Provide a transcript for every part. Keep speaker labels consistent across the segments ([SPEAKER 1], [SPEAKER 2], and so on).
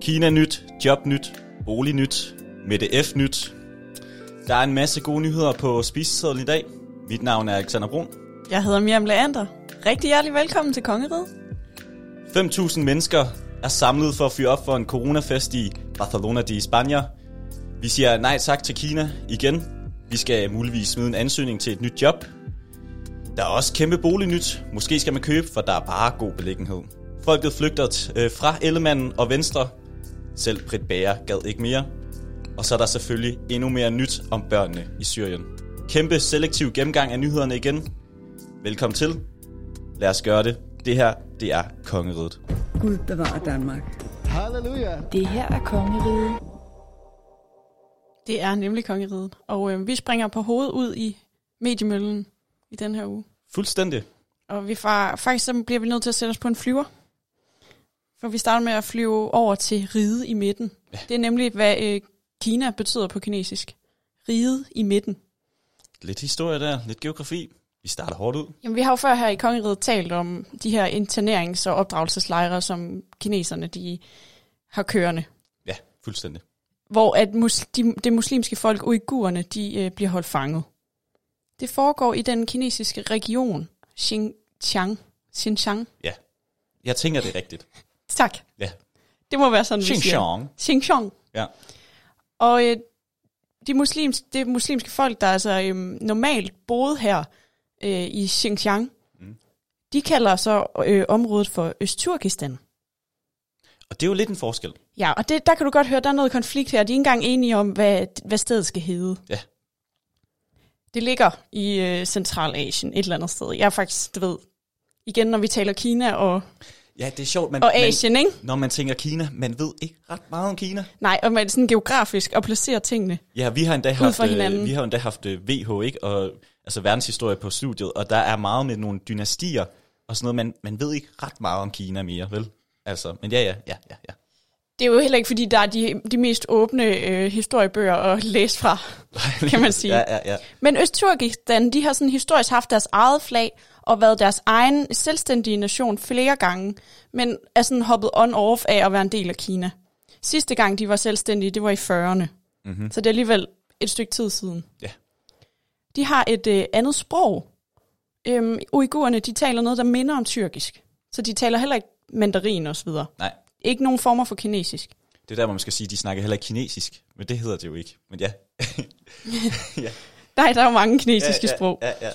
[SPEAKER 1] Kina nyt, job nyt, bolig nyt, Mette F nyt. Der er en masse gode nyheder på spisesedlen i dag. Mit navn er Alexander Brun.
[SPEAKER 2] Jeg hedder Miriam Leander. Rigtig hjertelig velkommen til Kongeriget.
[SPEAKER 1] 5.000 mennesker er samlet for at fyre op for en coronafest i Barcelona de España. Vi siger nej tak til Kina igen. Vi skal muligvis smide en ansøgning til et nyt job. Der er også kæmpe bolignyt. Måske skal man købe, for der er bare god beliggenhed. Folket flygter t- øh, fra Ellemanden og Venstre. Selv Britt Bager gad ikke mere. Og så er der selvfølgelig endnu mere nyt om børnene i Syrien. Kæmpe selektiv gennemgang af nyhederne igen. Velkommen til. Lad os gøre det. Det her, det er Kongeriget.
[SPEAKER 3] Gud bevare Danmark.
[SPEAKER 4] Halleluja.
[SPEAKER 5] Det her er kongeriget.
[SPEAKER 2] Det er nemlig Kongeriget. Og øh, vi springer på hovedet ud i mediemøllen i den her uge.
[SPEAKER 1] Fuldstændig.
[SPEAKER 2] Og vi far, faktisk så bliver vi nødt til at sætte os på en flyver. For vi starter med at flyve over til ride i midten. Ja. Det er nemlig, hvad øh, Kina betyder på kinesisk. Ride i midten.
[SPEAKER 1] Lidt historie der, lidt geografi. Vi starter hårdt ud.
[SPEAKER 2] Jamen, vi har jo før her i Kongeriget talt om de her internerings- og opdragelseslejre, som kineserne de har kørende.
[SPEAKER 1] Ja, fuldstændig.
[SPEAKER 2] hvor at mus, de, det muslimske folk, uigurerne, de øh, bliver holdt fanget. Det foregår i den kinesiske region Xinjiang. Xinjiang.
[SPEAKER 1] Jeg tænker det er rigtigt.
[SPEAKER 2] Tak.
[SPEAKER 1] Ja.
[SPEAKER 2] Det må være sådan, vi siger.
[SPEAKER 1] Xinjiang.
[SPEAKER 2] Xinjiang.
[SPEAKER 1] Ja.
[SPEAKER 2] Og øh, de muslims, det muslimske folk, der altså øh, normalt boede her øh, i Xinjiang,
[SPEAKER 1] Mm.
[SPEAKER 2] mm. de kalder så øh, området for Østturkestan.
[SPEAKER 1] Og det er jo lidt en forskel.
[SPEAKER 2] Ja, og det, der kan du godt høre, der er noget konflikt her. De er ikke engang enige om, hvad, hvad stedet skal hedde.
[SPEAKER 1] Ja.
[SPEAKER 2] Det ligger i øh, Centralasien, et eller andet sted. Jeg er faktisk, du ved, igen når vi taler Kina og,
[SPEAKER 1] Ja, det er sjovt. Man,
[SPEAKER 2] og Asien, ikke?
[SPEAKER 1] Man, når man tænker Kina, man ved ikke ret meget om Kina.
[SPEAKER 2] Nej, og man sådan geografisk og placerer tingene.
[SPEAKER 1] Ja, vi har endda
[SPEAKER 2] for
[SPEAKER 1] haft, øh,
[SPEAKER 2] hinanden.
[SPEAKER 1] vi har endda haft øh, VH, ikke? Og, altså verdenshistorie på studiet, og der er meget med nogle dynastier og sådan noget. Man, man ved ikke ret meget om Kina mere, vel? Altså, men ja, ja, ja, ja, ja.
[SPEAKER 2] Det er jo heller ikke, fordi der er de, de mest åbne øh, historiebøger at læse fra. Kan man sige.
[SPEAKER 1] ja, ja, ja.
[SPEAKER 2] Men Østturkestan, de har sådan historisk haft deres eget flag og været deres egen selvstændige nation flere gange, men er sådan hoppet on-off af at være en del af Kina. Sidste gang, de var selvstændige, det var i 40'erne. Mm-hmm. Så det er alligevel et stykke tid siden.
[SPEAKER 1] Ja.
[SPEAKER 2] De har et øh, andet sprog. Øhm, uigurerne, de taler noget, der minder om tyrkisk. Så de taler heller ikke mandarin og så videre.
[SPEAKER 1] Nej,
[SPEAKER 2] Ikke nogen former for kinesisk.
[SPEAKER 1] det er der, hvor man skal sige, at de snakker heller ikke kinesisk. Men det hedder det jo ikke. Men ja.
[SPEAKER 2] Nej, der er jo mange kinesiske
[SPEAKER 1] ja, ja,
[SPEAKER 2] sprog.
[SPEAKER 1] Ja, ja.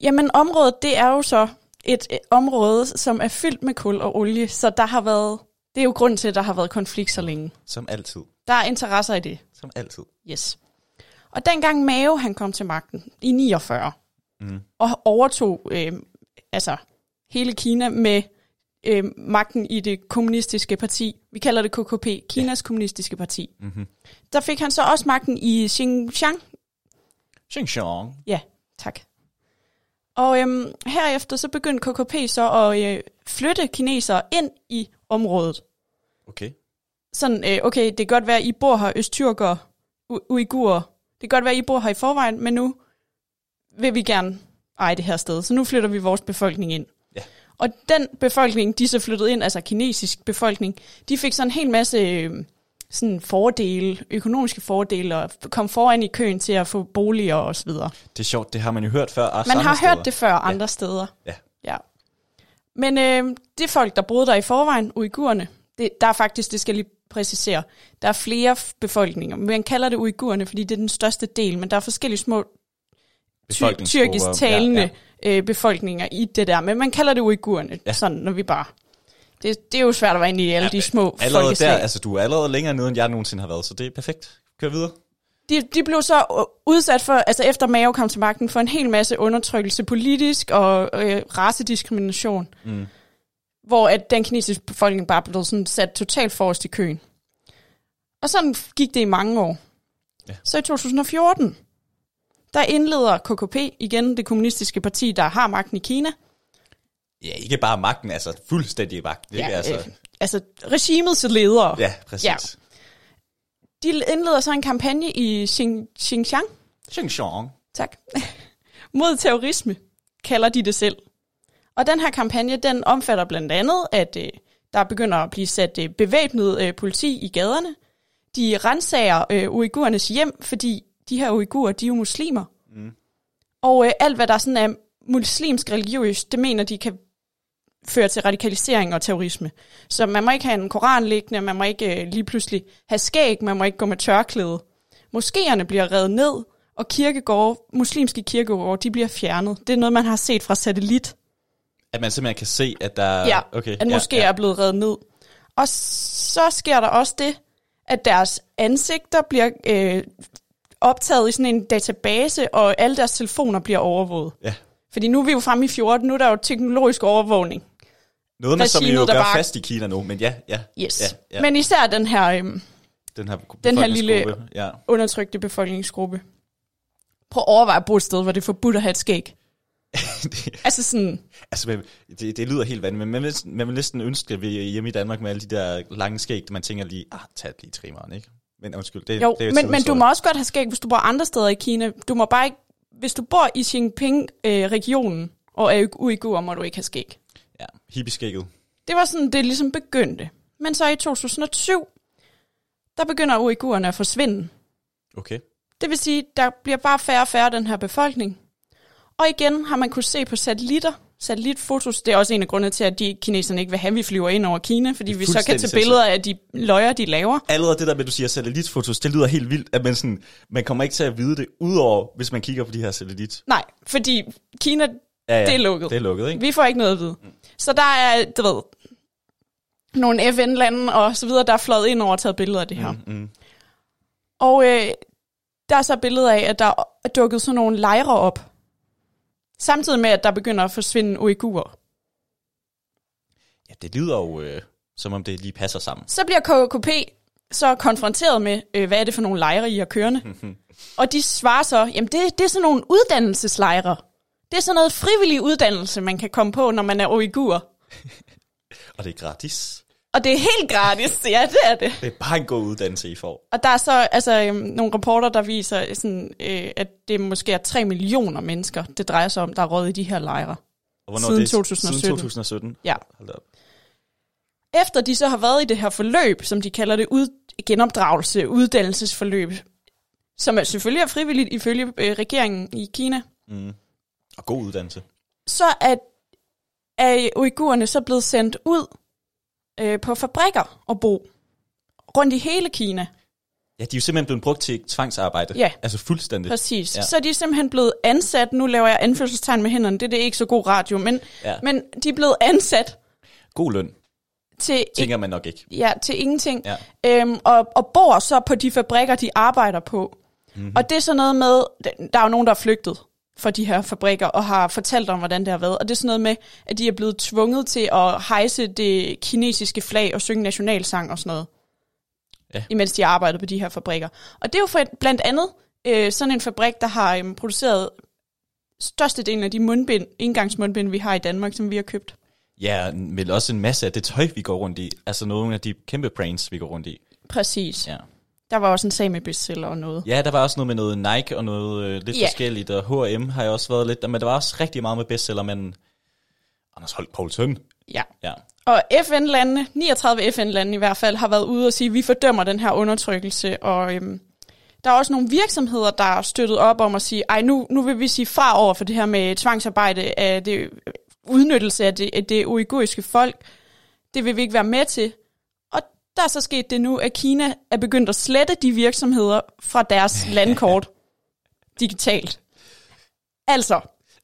[SPEAKER 2] Jamen området, det er jo så et øh, område, som er fyldt med kul og olie, så der har været, det er jo grund til, at der har været konflikt så længe.
[SPEAKER 1] Som altid.
[SPEAKER 2] Der er interesser i det,
[SPEAKER 1] Som altid.
[SPEAKER 2] yes. Og dengang Mao, han kom til magten i 49,
[SPEAKER 1] Mm.
[SPEAKER 2] og overtog øh, altså hele Kina med øh, magten i det kommunistiske parti, vi kalder det KKP, Kinas ja. kommunistiske parti.
[SPEAKER 1] Mhm.
[SPEAKER 2] Der fik han så også magten i Xinjiang,
[SPEAKER 1] Xinjiang.
[SPEAKER 2] Ja, tak. Og øhm, herefter så begyndte KKP så at øh, flytte kinesere ind i området.
[SPEAKER 1] Okay.
[SPEAKER 2] Sådan, øh, okay, det kan godt være, I bor her, østtyrker, u- uigurer. Det kan godt være, I bor her i forvejen, men nu vil vi gerne eje det her sted. Så nu flytter vi vores befolkning ind.
[SPEAKER 1] Ja.
[SPEAKER 2] Og den befolkning, de så flyttede ind, altså kinesisk befolkning, de fik sådan en hel masse øh, sådan fordele, økonomiske fordele, og kom foran i køen til at få boliger og så videre.
[SPEAKER 1] Det er sjovt, det har man jo hørt før. også
[SPEAKER 2] Man
[SPEAKER 1] andre
[SPEAKER 2] har
[SPEAKER 1] steder.
[SPEAKER 2] hørt det før andre steder.
[SPEAKER 1] Ja.
[SPEAKER 2] ja. Men øh, det er folk, der boede der i forvejen, uigurerne, det, der er faktisk, det skal jeg lige præcisere, der er flere f- befolkninger. Man kalder det uigurerne, fordi det er den største del, men der er forskellige små ty-
[SPEAKER 1] Befolkningsgrupper.
[SPEAKER 2] tyrkisk talende
[SPEAKER 1] Ja,
[SPEAKER 2] ja, ja. Øh, befolkninger i det der. Men man kalder det uigurerne,
[SPEAKER 1] Ja.
[SPEAKER 2] ja. sådan når vi bare... Det, det er jo svært at være inde i alle ja, de små
[SPEAKER 1] ja. Allerede
[SPEAKER 2] folkeslag.
[SPEAKER 1] der, altså du er allerede længere nede, end jeg nogensinde har været, så det er perfekt. Kør videre.
[SPEAKER 2] de, de blev så øh, udsat for, altså efter Mao kom til magten, for en hel masse undertrykkelse politisk og øh, racediskrimination. Mm. Hvor at den kinesiske befolkning bare blev sådan sat totalt forrest i køen. Og sådan gik det i mange år.
[SPEAKER 1] Ja.
[SPEAKER 2] Ja. Så i 2014, der indleder KKP, igen det kommunistiske parti, der har magten i Kina.
[SPEAKER 1] Ja, ikke bare magten, altså fuldstændig magten. Ikke? altså,
[SPEAKER 2] øh, altså regimets ledere.
[SPEAKER 1] ja præcis. Ja.
[SPEAKER 2] ja. De indleder så en kampagne i Xin- Xinjiang,
[SPEAKER 1] Xinjiang.
[SPEAKER 2] Tak. Mod terrorisme, kalder de det selv. Og den her kampagne, den omfatter blandt andet, at øh, Der begynder at blive sat øh, bevæbnet øh, politi i gaderne. De rensager øh, uigurernes hjem, fordi de her uigurer, de er jo muslimer. Mm. Og øh, alt, hvad der sådan er muslimsk religiøst, det mener de kan føre til radikalisering og terrorisme. Så man må ikke have en koran liggende, man må ikke øh, lige pludselig have skæg, man må ikke gå med tørklæde. Moskéerne bliver revet ned, og kirkegårde, muslimske kirkegårde, de bliver fjernet. Det er noget, man har set fra satellit.
[SPEAKER 1] At man simpelthen kan se, at der...
[SPEAKER 2] Ja,
[SPEAKER 1] Ah, okay.
[SPEAKER 2] at måske ja, ja. er blevet revet ned. Og så sker der også det, at deres ansigter bliver øh, optaget i sådan en database, og alle deres telefoner bliver overvåget.
[SPEAKER 1] ja.
[SPEAKER 2] Fordi nu er vi jo fremme i 14, nu er der jo teknologisk overvågning.
[SPEAKER 1] Noget, man som jo
[SPEAKER 2] Regimet, der
[SPEAKER 1] gør
[SPEAKER 2] bare-
[SPEAKER 1] fast i Kina nu, men ja, ja.
[SPEAKER 2] Yes.
[SPEAKER 1] Ja, ja.
[SPEAKER 2] Men især den her øhm,
[SPEAKER 1] den her,
[SPEAKER 2] den her lille-
[SPEAKER 1] befolkningsgruppe, Ja.
[SPEAKER 2] undertrykte befolkningsgruppe. Prøv at overveje at bo et sted, hvor det er forbudt at have et skæg. Altså sådan,
[SPEAKER 1] altså, men det, det lyder helt vanvittigt, men man vil, man vil næsten ønske, at vi er hjemme i Danmark med alle de der lange skæg, man tænker lige, ah, tag lige trimmeren, ikke? Men undskyld, det,
[SPEAKER 2] jo,
[SPEAKER 1] det er
[SPEAKER 2] men, men du
[SPEAKER 1] tidshistorie.
[SPEAKER 2] må også godt have skæg, hvis du bor andre steder i Kina. Du må bare ikke, hvis du bor i Xinjiang-regionen og er uigur, må du ikke have skæg.
[SPEAKER 1] Ja, hippieskægget.
[SPEAKER 2] Det var sådan, det ligesom begyndte. Men så i 2007, der begynder uigurerne at forsvinde.
[SPEAKER 1] Okay.
[SPEAKER 2] Det vil sige, der bliver bare færre og færre af den her befolkning. Og igen har man kunne se på satellitter, satellitfotos, det er også en af grundene til, at de kineserne ikke vil have, at vi flyver ind over Kina, fordi vi så kan
[SPEAKER 1] fuldstændig
[SPEAKER 2] tage billeder af de løjer, de laver.
[SPEAKER 1] Allerede det der med, at du siger satellitfotos, det lyder helt vildt, at man, sådan, man kommer ikke til at vide det, udover hvis man kigger på de her satellit.
[SPEAKER 2] Nej, fordi Kina,
[SPEAKER 1] Ja, ja,
[SPEAKER 2] Det er lukket.
[SPEAKER 1] Det er lukket, ikke?
[SPEAKER 2] vi får ikke noget at vide. Så der er, du ved, nogle FN-lande og så videre, der er fløjet ind over og taget billeder af det her.
[SPEAKER 1] Mm, mm.
[SPEAKER 2] Og øh, der er så billeder af, at der er dukket sådan nogle lejre op. Samtidig med, at der begynder at forsvinde uigurer.
[SPEAKER 1] Ja, det lyder jo, øh, som om det lige passer sammen.
[SPEAKER 2] Så bliver KKP så konfronteret med, øh, hvad er det for nogle lejre, I har kørende? og de svarer så, jamen det, det er sådan nogle uddannelseslejre. Det er sådan noget frivillig uddannelse, man kan komme på, når man er uigur.
[SPEAKER 1] Og det er gratis.
[SPEAKER 2] Og det er helt gratis, ja, det er det.
[SPEAKER 1] Det er bare en god uddannelse, I får.
[SPEAKER 2] Og der er så altså, øhm, nogle rapporter, der viser, sådan, øh, at det måske er 3 millioner mennesker, det drejer sig om, der er råd i de her lejre.
[SPEAKER 1] Og hvornår
[SPEAKER 2] Siden
[SPEAKER 1] det er-
[SPEAKER 2] 2017.
[SPEAKER 1] Siden 2017.
[SPEAKER 2] Ja.
[SPEAKER 1] Hold da op.
[SPEAKER 2] Efter de så har været i det her forløb, som de kalder det ud, genopdragelse, uddannelsesforløb, som er selvfølgelig er frivilligt ifølge øh, regeringen i Kina,
[SPEAKER 1] Og god uddannelse.
[SPEAKER 2] så er, er uigurerne så blevet sendt ud øh, på fabrikker og bo rundt i hele Kina.
[SPEAKER 1] Ja, de er jo simpelthen blevet brugt til tvangsarbejde.
[SPEAKER 2] Ja.
[SPEAKER 1] Altså fuldstændig.
[SPEAKER 2] Præcis.
[SPEAKER 1] Ja.
[SPEAKER 2] Ja. Så er de simpelthen blevet ansat. Nu laver jeg anførselstegn med hænderne. Det, det er ikke så god radio, men,
[SPEAKER 1] Ja.
[SPEAKER 2] ja. men de er blevet ansat
[SPEAKER 1] God løn,
[SPEAKER 2] til,
[SPEAKER 1] tænker man nok ikke.
[SPEAKER 2] ja, til ingenting.
[SPEAKER 1] Ja.
[SPEAKER 2] Øhm, og, og bor så på de fabrikker, de arbejder på. Mm-hmm. Og det er sådan noget med, der er jo nogen, der er flygtet fra de her fabrikker og har fortalt om, hvordan det har været. Og det er sådan noget med, at de er blevet tvunget til at hejse det kinesiske flag og synge nationalsang og sådan noget,
[SPEAKER 1] Ja.
[SPEAKER 2] imens de arbejder på de her fabrikker. Og det er jo for, blandt andet øh, sådan en fabrik, der har øhm, produceret størstedelen af de mundbind, indgangsmundbind, vi har i Danmark, som vi har købt.
[SPEAKER 1] Ja, men også en masse af det tøj, vi går rundt i. Altså nogle af de kæmpe brands, vi går rundt i.
[SPEAKER 2] Præcis.
[SPEAKER 1] Ja.
[SPEAKER 2] Der var også en sag med bestseller og noget.
[SPEAKER 1] Ja, der var også noget med noget Nike og noget øh, lidt
[SPEAKER 2] Ja.
[SPEAKER 1] forskelligt, og H&M har jeg også været lidt, men der var også rigtig meget med bestsellermanden Anders Holt Poulsen.
[SPEAKER 2] Ja.
[SPEAKER 1] Ja.
[SPEAKER 2] Og FN-landene, 39 FN-lande i hvert fald, har været ude og sige, at vi fordømmer den her undertrykkelse. Og øhm, der er også nogle virksomheder, der er støttet op om at sige, ej, nu, nu vil vi sige fra over for det her med tvangsarbejde af det øh, udnyttelse af det, af det uiguriske folk. Det vil vi ikke være med til. Og der er så sket det nu, at Kina er begyndt at slette de virksomheder fra deres landkort digitalt. Altså,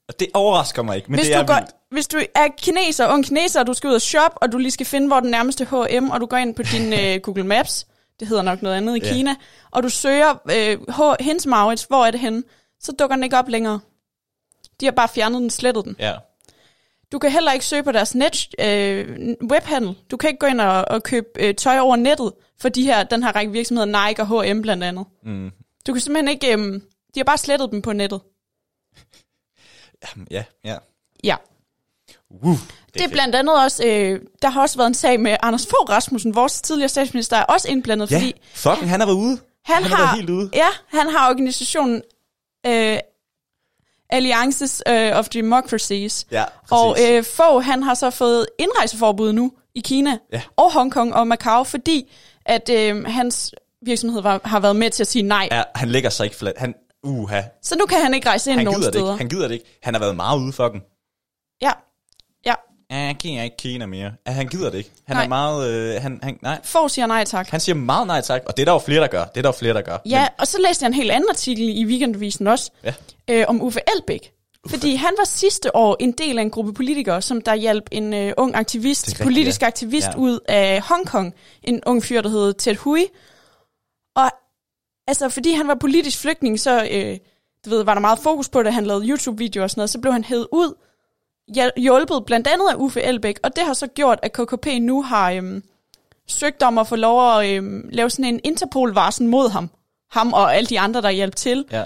[SPEAKER 1] Og det overrasker mig ikke, men
[SPEAKER 2] hvis
[SPEAKER 1] det er
[SPEAKER 2] du, går,
[SPEAKER 1] vildt.
[SPEAKER 2] hvis du er kineser, ung kineser, og du skal ud og shoppe, og du lige skal finde, hvor den nærmeste H&M, og du går ind på din øh, Google Maps, det hedder nok noget andet i
[SPEAKER 1] Ja.
[SPEAKER 2] Kina, og du søger øh, H- hendes Maurits, hvor er det henne, så dukker den ikke op længere. De har bare fjernet den, slettet den.
[SPEAKER 1] Ja.
[SPEAKER 2] Du kan heller ikke søge på deres net, øh, webhandel. Du kan ikke gå ind og, og købe øh, tøj over nettet for de her, den her række virksomheder, Nike og H&M blandt andet.
[SPEAKER 1] Mm.
[SPEAKER 2] Du kan simpelthen ikke... Øh, de har bare slettet dem på nettet.
[SPEAKER 1] Ja, ja.
[SPEAKER 2] Ja.
[SPEAKER 1] Woo,
[SPEAKER 2] Det er blandt andet også, øh, der har også været en sag med Anders Fogh Rasmussen, vores tidligere statsminister, er også indblandet,
[SPEAKER 1] Ja,
[SPEAKER 2] fordi
[SPEAKER 1] fucking, han har været ude.
[SPEAKER 2] han,
[SPEAKER 1] har været
[SPEAKER 2] har,
[SPEAKER 1] helt ude.
[SPEAKER 2] ja, han har organisationen øh, Alliances øh, of Democracies, øh,
[SPEAKER 1] Ja,
[SPEAKER 2] og øh, Fogh, han har så fået indrejseforbud nu i Kina
[SPEAKER 1] Ja.
[SPEAKER 2] og Hongkong og Macau, fordi at øh, hans virksomhed var, har været med til at sige nej. Ja.
[SPEAKER 1] Ja, han lægger sig ikke fladt. Han, uha,
[SPEAKER 2] Så nu kan han ikke rejse ind
[SPEAKER 1] han
[SPEAKER 2] nogen
[SPEAKER 1] gider det
[SPEAKER 2] steder.
[SPEAKER 1] ikke. Han gider det ikke. Han har været meget ude for den.
[SPEAKER 2] Ja. ja.
[SPEAKER 1] Ja, jeg gider ikke Kina mere. Ja, han gider det ikke. Han
[SPEAKER 2] Nej.
[SPEAKER 1] er meget, øh, han, han, nej.
[SPEAKER 2] Få siger nej tak.
[SPEAKER 1] Han siger meget nej tak, og det er der jo flere, der gør. Det er der jo flere, der gør.
[SPEAKER 2] Ja, og så læste jeg en helt anden artikel i Weekendavisen også,
[SPEAKER 1] Ja.
[SPEAKER 2] øh, om Uffe Elbæk. Fordi han var sidste år en del af en gruppe politikere, som der hjalp en øh, ung
[SPEAKER 1] Det
[SPEAKER 2] aktivist,
[SPEAKER 1] er
[SPEAKER 2] rigtigt,
[SPEAKER 1] rigtigt,
[SPEAKER 2] politisk
[SPEAKER 1] ja.
[SPEAKER 2] aktivist
[SPEAKER 1] Ja.
[SPEAKER 2] ja. ud af Hongkong. En ung fyr, der hed Ted Hui. Og altså, fordi han var politisk flygtning, så øh, du ved, var der meget fokus på det. Han lavede YouTube-videoer og sådan noget. Så blev han hævet ud, hjæl- hjulpet blandt andet af Uffe Elbæk. Og det har så gjort, at KKP nu har øh, søgt om at få lov at øh, lave sådan en Interpol-varsel mod ham. Ham og alle de andre, der hjalp til.
[SPEAKER 1] Men, ja.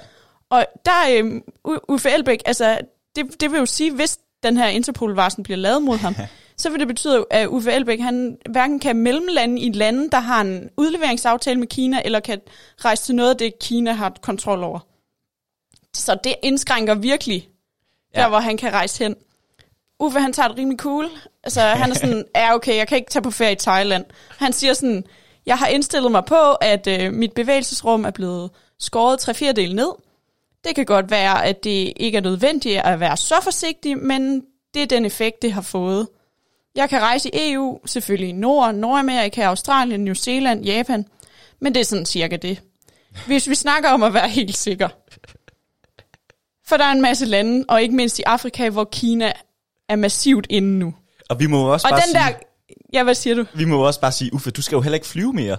[SPEAKER 2] Og der, øh, Uffe Elbæk, altså, det, det vil jo sige, hvis den her Interpol-varsel bliver lavet mod ham, så vil det betyde, at Uffe Elbæk, han hverken kan mellemlande i lande, der har en udleveringsaftale med Kina, eller kan rejse til noget af det, Kina har kontrol over. Så det indskrænker virkelig, der
[SPEAKER 1] Ja.
[SPEAKER 2] hvor han kan rejse hen. Uffe, han tager det rimelig cool. Altså, han er sådan, ja okay, jeg kan ikke tage på ferie i Thailand. Han siger sådan, jeg har indstillet mig på, at øh, mit bevægelsesrum er blevet skåret tre fjerdedel ned. Det kan godt være, at det ikke er nødvendigt at være så forsigtig, men det er den effekt, det har fået. Jeg kan rejse i EU, selvfølgelig i Norden, Nordamerika, Australien, New Zealand, Japan, men det er sådan cirka det. Hvis vi snakker om at være helt sikker. For der er en masse lande, og ikke mindst i Afrika, hvor Kina er massivt inde nu.
[SPEAKER 1] Og vi må jo også
[SPEAKER 2] Og
[SPEAKER 1] bare
[SPEAKER 2] den
[SPEAKER 1] sige,
[SPEAKER 2] der... Ja, hvad siger du?
[SPEAKER 1] vi må jo også bare sige, Uffe, du skal jo heller ikke flyve mere.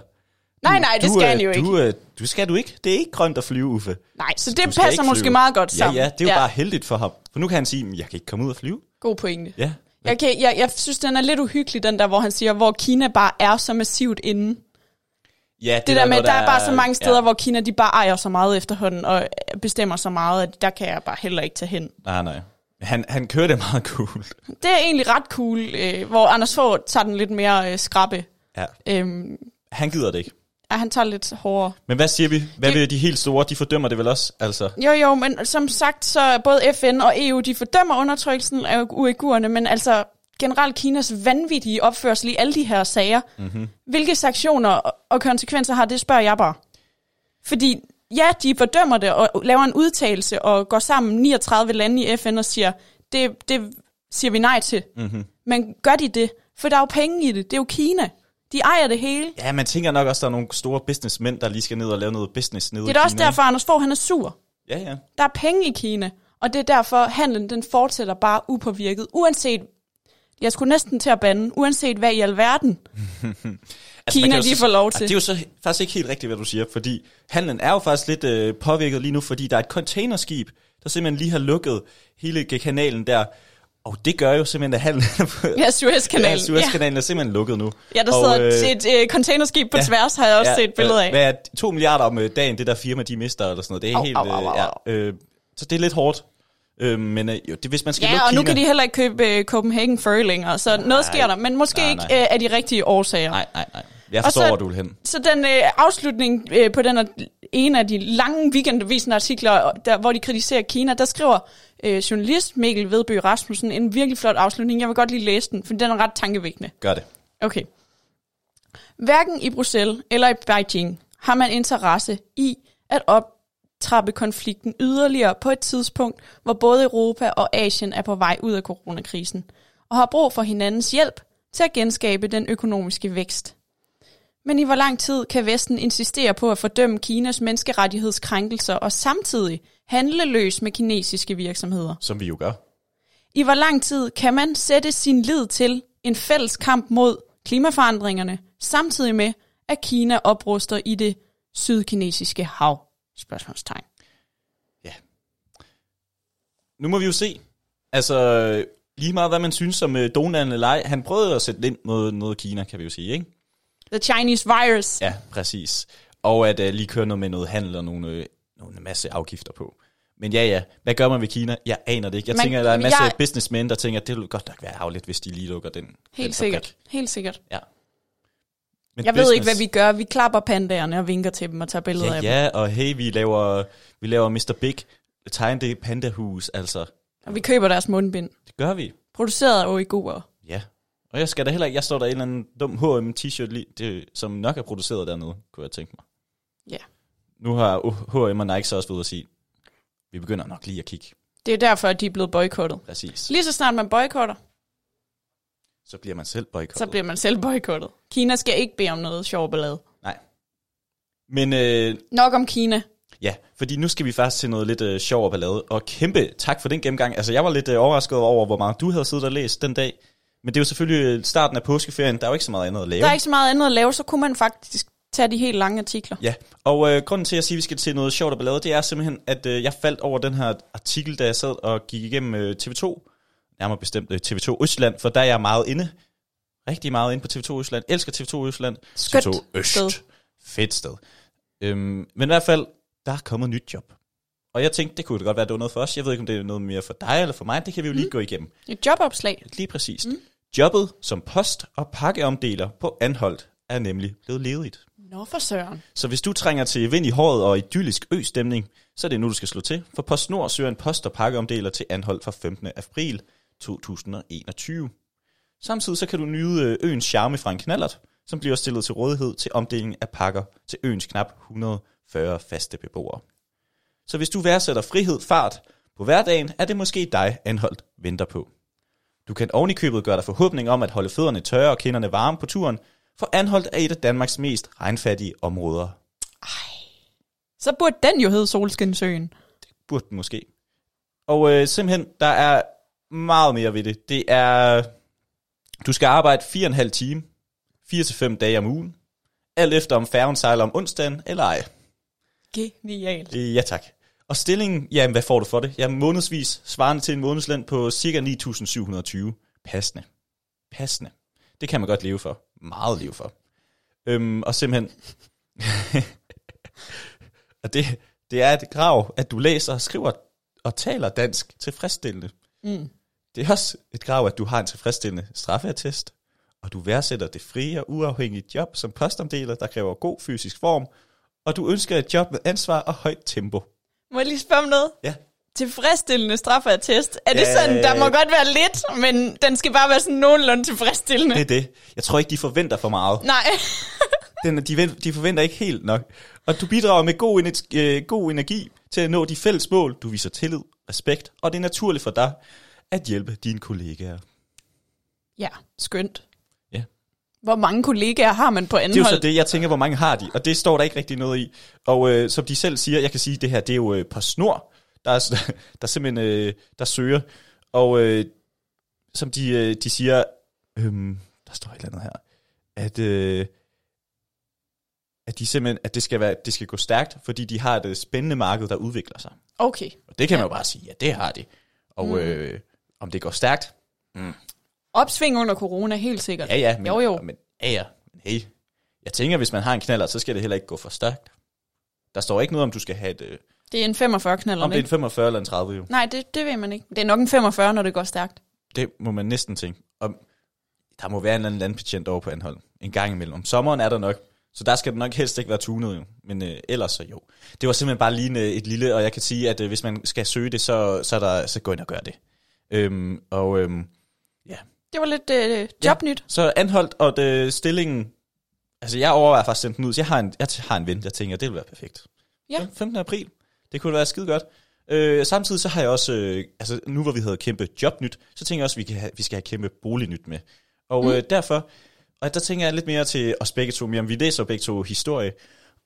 [SPEAKER 2] Nej, nej, det
[SPEAKER 1] du,
[SPEAKER 2] skal
[SPEAKER 1] øh,
[SPEAKER 2] han jo ikke.
[SPEAKER 1] du, ikke. Du, du skal du ikke. Det er ikke grønt at flyve, Uffe.
[SPEAKER 2] Nej, så
[SPEAKER 1] Du
[SPEAKER 2] det
[SPEAKER 1] skal
[SPEAKER 2] passer
[SPEAKER 1] ikke
[SPEAKER 2] måske
[SPEAKER 1] flyve.
[SPEAKER 2] meget godt sammen.
[SPEAKER 1] Ja, ja, det er jo ja. bare heldigt for ham. For nu kan han sige, "Men jeg kan ikke komme ud og flyve.
[SPEAKER 2] God pointe.
[SPEAKER 1] Ja.
[SPEAKER 2] Jeg, kan, jeg, jeg synes, den er lidt uhyggelig, den der, hvor han siger, hvor Kina bare er så massivt inde. Det,
[SPEAKER 1] ja det,
[SPEAKER 2] det der med,
[SPEAKER 1] noget,
[SPEAKER 2] der er bare så mange steder,
[SPEAKER 1] ja.
[SPEAKER 2] ja. hvor Kina de bare ejer så meget efterhånden, og bestemmer så meget, at der kan jeg bare heller ikke tage hen.
[SPEAKER 1] Nej, nej. Han, han kører det meget cool.
[SPEAKER 2] Det er egentlig ret cool, øh, hvor Anders Fogh tager den lidt mere øh, skrappe.
[SPEAKER 1] Ja.
[SPEAKER 2] Øhm,
[SPEAKER 1] Han gider det ikke.
[SPEAKER 2] ja, han tager lidt hårdere.
[SPEAKER 1] Men hvad siger vi? Hvad
[SPEAKER 2] Det-
[SPEAKER 1] vil de helt store? De fordømmer det vel også, altså?
[SPEAKER 2] Jo, jo, men som sagt, så er både FN og EU, de fordømmer undertrykkelsen af uigurerne, men altså generelt Kinas vanvittige opførsel i alle de her sager.
[SPEAKER 1] Mhm.
[SPEAKER 2] Mm-hmm. Hvilke sanktioner og- og konsekvenser har det, spørger jeg bare. Fordi ja, de fordømmer det og laver en udtalelse og går sammen 39 lande i FN og siger, det, det siger vi nej til.
[SPEAKER 1] Mhm.
[SPEAKER 2] Mm-hmm. Men gør de det? For der er jo penge i det. Det er jo Kina. De ejer det hele.
[SPEAKER 1] Ja, man tænker nok også, der er nogle store businessmænd, der lige skal ned og lave noget business nede
[SPEAKER 2] Det er da
[SPEAKER 1] i
[SPEAKER 2] også
[SPEAKER 1] Kina,
[SPEAKER 2] derfor, Anders Fogh han er sur.
[SPEAKER 1] ikke? Ja, ja.
[SPEAKER 2] Der er penge i Kina, og det er derfor, handlen den fortsætter bare upåvirket, uanset, jeg skulle næsten til at bande, uanset hvad i alverden
[SPEAKER 1] Altså, Man
[SPEAKER 2] Kina
[SPEAKER 1] kan jo
[SPEAKER 2] de
[SPEAKER 1] så-
[SPEAKER 2] får lov
[SPEAKER 1] Ej,
[SPEAKER 2] til.
[SPEAKER 1] Det er jo så he- faktisk ikke helt rigtigt, hvad du siger, fordi handlen er jo faktisk lidt øh, påvirket lige nu, fordi der er et containerskib, der simpelthen lige har lukket hele kanalen der, og det gør jo simpelthen, at handlen
[SPEAKER 2] Ja, Suezkanalen.
[SPEAKER 1] Ja,
[SPEAKER 2] Ja,
[SPEAKER 1] Suezkanalen er simpelthen lukket nu.
[SPEAKER 2] ja der
[SPEAKER 1] Og,
[SPEAKER 2] sidder
[SPEAKER 1] øh,
[SPEAKER 2] et, et øh, containerskib på ja, tværs, har jeg også ja, set et billede af.
[SPEAKER 1] Hvad er det? to milliarder om øh, dagen, det der firma, de mister, eller sådan noget. Det er
[SPEAKER 2] Au,
[SPEAKER 1] helt...
[SPEAKER 2] au, au, au,
[SPEAKER 1] øh, ja, øh, så det er lidt hårdt. Øh, men øh, jo, det, hvis man skal
[SPEAKER 2] ja,
[SPEAKER 1] lukke
[SPEAKER 2] og nu
[SPEAKER 1] Kina,
[SPEAKER 2] kan de heller ikke købe øh, Copenhagen Fur længere, så nej, noget sker der, men måske
[SPEAKER 1] nej,
[SPEAKER 2] nej, ikke
[SPEAKER 1] nej.
[SPEAKER 2] øh, af de rigtige årsager.
[SPEAKER 1] Nej, nej, nej. Jeg
[SPEAKER 2] Og så-
[SPEAKER 1] forstår, hvor du vil hen.
[SPEAKER 2] Så den øh, afslutning øh, på den her, en af de lange weekendavisen artikler, der, hvor de kritiserer Kina, der skriver øh, journalist Mikkel Vedbø Rasmussen en virkelig flot afslutning. Jeg vil godt lige læse den, for den er ret tankevækkende.
[SPEAKER 1] Gør det.
[SPEAKER 2] Okay. Hverken i Bruxelles eller i Beijing har man interesse i at optrappe konflikten yderligere på et tidspunkt, hvor både Europa og Asien er på vej ud af coronakrisen og har brug for hinandens hjælp til at genskabe den økonomiske vækst. Men i hvor lang tid kan Vesten insistere på at fordømme Kinas menneskerettighedskrænkelser og samtidig handle løs med kinesiske virksomheder?
[SPEAKER 1] Som vi jo gør.
[SPEAKER 2] I hvor lang tid kan man sætte sin lid til en fælles kamp mod klimaforandringerne, samtidig med, at Kina opruster i det sydkinesiske hav? Spørgsmålstegn.
[SPEAKER 1] Nu må vi jo se. Altså, øh, lige meget hvad man synes om øh, Donald eller ej, han prøvede at sætte ind mod noget Kina, kan vi jo sige, ikke?
[SPEAKER 2] The Chinese virus. Ja.
[SPEAKER 1] Ja, præcis. Og at øh, lige køre noget med noget handel og nogle, øh, nogle masse afgifter på. Men ja, ja. Hvad gør man ved Kina? Jeg aner det ikke. Jeg man,
[SPEAKER 2] Man-
[SPEAKER 1] tænker, at der er en masse jeg...
[SPEAKER 2] jeg-
[SPEAKER 1] businessmen, der tænker, at det vil godt nok være havligt, hvis de lige lukker den. den
[SPEAKER 2] Helt
[SPEAKER 1] fabrik.
[SPEAKER 2] sikkert. Helt sikkert.
[SPEAKER 1] Ja. Men
[SPEAKER 2] Jeg ved ikke, hvad vi gør. Vi klapper pandagerne og vinker til dem og tager billeder
[SPEAKER 1] Ja,
[SPEAKER 2] af dem.
[SPEAKER 1] ja, og hey, vi laver, vi laver Mr. Big. Tegn det pandahus, altså.
[SPEAKER 2] Og vi køber deres mundbind.
[SPEAKER 1] Det gør vi.
[SPEAKER 2] Produceret af uigurer.
[SPEAKER 1] Ja. Og jeg skal da heller ikke, jeg står der i en eller anden dum H&M t-shirt, lige- det, som nok er produceret dernede, kunne jeg tænke mig.
[SPEAKER 2] Ja.
[SPEAKER 1] Nu har H&M og Nike så også været ude at sige, vi begynder nok lige at kigge.
[SPEAKER 2] Det er derfor, at de er blevet boykottet.
[SPEAKER 1] Præcis.
[SPEAKER 2] Lige så snart man boykotter,
[SPEAKER 1] Så bliver man selv boykottet.
[SPEAKER 2] så bliver man selv boykottet. Kina skal ikke bede om noget sjov ballade.
[SPEAKER 1] Nej. Men øh,
[SPEAKER 2] Nok om Kina.
[SPEAKER 1] Ja, fordi nu skal vi faktisk til noget lidt øh, sjov og ballade. Og kæmpe tak for den gennemgang. Altså, jeg var lidt øh, overrasket over, hvor meget du havde siddet og læst den dag. Men det er jo selvfølgelig øh, starten af påskeferien. Der er jo ikke så meget andet at lave.
[SPEAKER 2] Der er ikke så meget andet at lave, så kunne man faktisk tage de helt lange artikler.
[SPEAKER 1] Ja, og øh, grunden til, at jeg siger, at vi skal til noget sjovt og ballade, det er simpelthen, at øh, jeg faldt over den her artikel, da jeg sad og gik igennem øh, TV2. Nærmere bestemt øh, TV2 Østland, for der er jeg meget inde. Rigtig meget inde på TV2 Østland. Elsker TV2 Østland.
[SPEAKER 2] Skønt
[SPEAKER 1] TV2 Øst.
[SPEAKER 2] sted.
[SPEAKER 1] Fedt sted. Øhm, men i hvert fald, der er kommet nyt job. Og jeg tænkte, det kunne da godt være, det var noget for os. Jeg ved ikke, om det er noget mere for dig eller for mig. Det kan vi jo lige mm. gå igennem.
[SPEAKER 2] Et jobopslag.
[SPEAKER 1] Lige præcist. Mm. Jobbet som post- og pakkeomdeler på Anholdt er nemlig blevet ledigt.
[SPEAKER 2] Nå for søren.
[SPEAKER 1] Så hvis du trænger til vind i håret og idyllisk østemning, så er det nu, du skal slå til, for PostNord søger en post- og pakkeomdeler til anhold fra 15. april 2021. Samtidig så kan du nyde øh, øens charme fra en knallert, som bliver stillet til rådighed til omdeling af pakker til øens knap 140 faste beboere. Så hvis du værdsætter frihed, fart på hverdagen, er det måske dig, Anholdt venter på. Du kan ovenikøbet gøre dig forhåbning om at holde fødderne tørre og kinderne varme på turen, for Anholdt er et af Danmarks mest regnfattige områder.
[SPEAKER 2] Så burde den jo hedde Solskinsøen.
[SPEAKER 1] Burde den måske. Og øh, simpelthen, der er meget mere ved det. Det er, du skal arbejde 4,5 time, 4-5 dage om ugen, alt efter om færgen sejler om onsdagen eller ej.
[SPEAKER 2] Genialt.
[SPEAKER 1] Øh, Ja tak. Og stillingen, jamen hvad får du for det? Jamen månedsvis, svarende til en månedsløn på ca. 9.720. Passende. Passende. Det kan man godt leve for. Meget leve for. Øhm, og simpelthen... og det, det er et krav, at du læser, skriver og taler dansk tilfredsstillende.
[SPEAKER 2] Mm.
[SPEAKER 1] Det er også et krav, at du har en tilfredsstillende straffeattest, og du værdsætter det frie og uafhængige job som postomdeler, der kræver god fysisk form, og du ønsker et job med ansvar og højt tempo.
[SPEAKER 2] Må jeg lige spørge om noget?
[SPEAKER 1] Ja.
[SPEAKER 2] Tilfredsstillende straffertest. Er det
[SPEAKER 1] Ja.
[SPEAKER 2] sådan, der må godt være lidt, men den skal bare være sådan nogenlunde tilfredsstillende?
[SPEAKER 1] Det er det. Jeg tror ikke, de forventer for meget.
[SPEAKER 2] Nej.
[SPEAKER 1] Den, de, ven- de forventer ikke helt nok. Og du bidrager med god, ener- øh, god energi til at nå de fælles mål. Du viser tillid, respekt, og det er naturligt for dig at hjælpe dine kollegaer.
[SPEAKER 2] Ja, skønt.
[SPEAKER 1] Ja.
[SPEAKER 2] Hvor mange kollegaer har man på
[SPEAKER 1] Det er
[SPEAKER 2] anden
[SPEAKER 1] jo så
[SPEAKER 2] hold?
[SPEAKER 1] det, jeg tænker, hvor mange har de? Og det står der ikke rigtig noget i. Og øh, som de selv siger, jeg kan sige, det her, det er jo øh, på snor, der, er, der simpelthen øh, der søger. Og øh, som de, øh, de siger, øhm, der står et eller andet her, at, øh, at, de simpelthen, at det, skal være, det skal gå stærkt, fordi de har et øh, spændende marked, der udvikler sig.
[SPEAKER 2] Okay.
[SPEAKER 1] Og det kan man jo bare sige, ja, det har de. Og mm. øh, om det går stærkt,
[SPEAKER 2] Opsving under corona, helt sikkert.
[SPEAKER 1] ja ja, men,
[SPEAKER 2] Jo, jo.
[SPEAKER 1] men ja ja, men hey. Jeg tænker, hvis man har en knaller, så skal det heller ikke gå for stærkt. Der står ikke noget om, du skal have et, øh,
[SPEAKER 2] Det er en 45 knaller,
[SPEAKER 1] om det er en
[SPEAKER 2] ikke?
[SPEAKER 1] 45 eller en 30 jo.
[SPEAKER 2] Nej, det, det ved man ikke. Det er nok en 45, når det går stærkt.
[SPEAKER 1] Det må man næsten tænke. Og der må være en eller anden landbetjent over på Anhold. En gang imellem. Om sommeren er der nok. Så der skal det nok helst ikke være tunet jo. Men øh, ellers så jo. Det var simpelthen bare lige en, øh, et lille, og jeg kan sige, at øh, hvis man skal søge det, så, så, er der, så gå ind og gør det. Øhm, og øhm,
[SPEAKER 2] Det var lidt øh, jobnyt.
[SPEAKER 1] Så anholdt, og det, stillingen... Altså, jeg overvejer faktisk at sende den ud. Så Jeg har en, jeg t- har en ven, jeg tænker, det vil være perfekt.
[SPEAKER 2] Ja.
[SPEAKER 1] Den 15. april. Det kunne være skide godt. Øh, samtidig så har jeg også... Øh, altså, nu hvor vi havde kæmpe jobnyt, så tænker jeg også, at vi, kan have, vi skal have kæmpe bolignyt med. Og mm. øh, derfor... Og der tænker jeg lidt mere til os begge to, mere om vi læser begge to historie.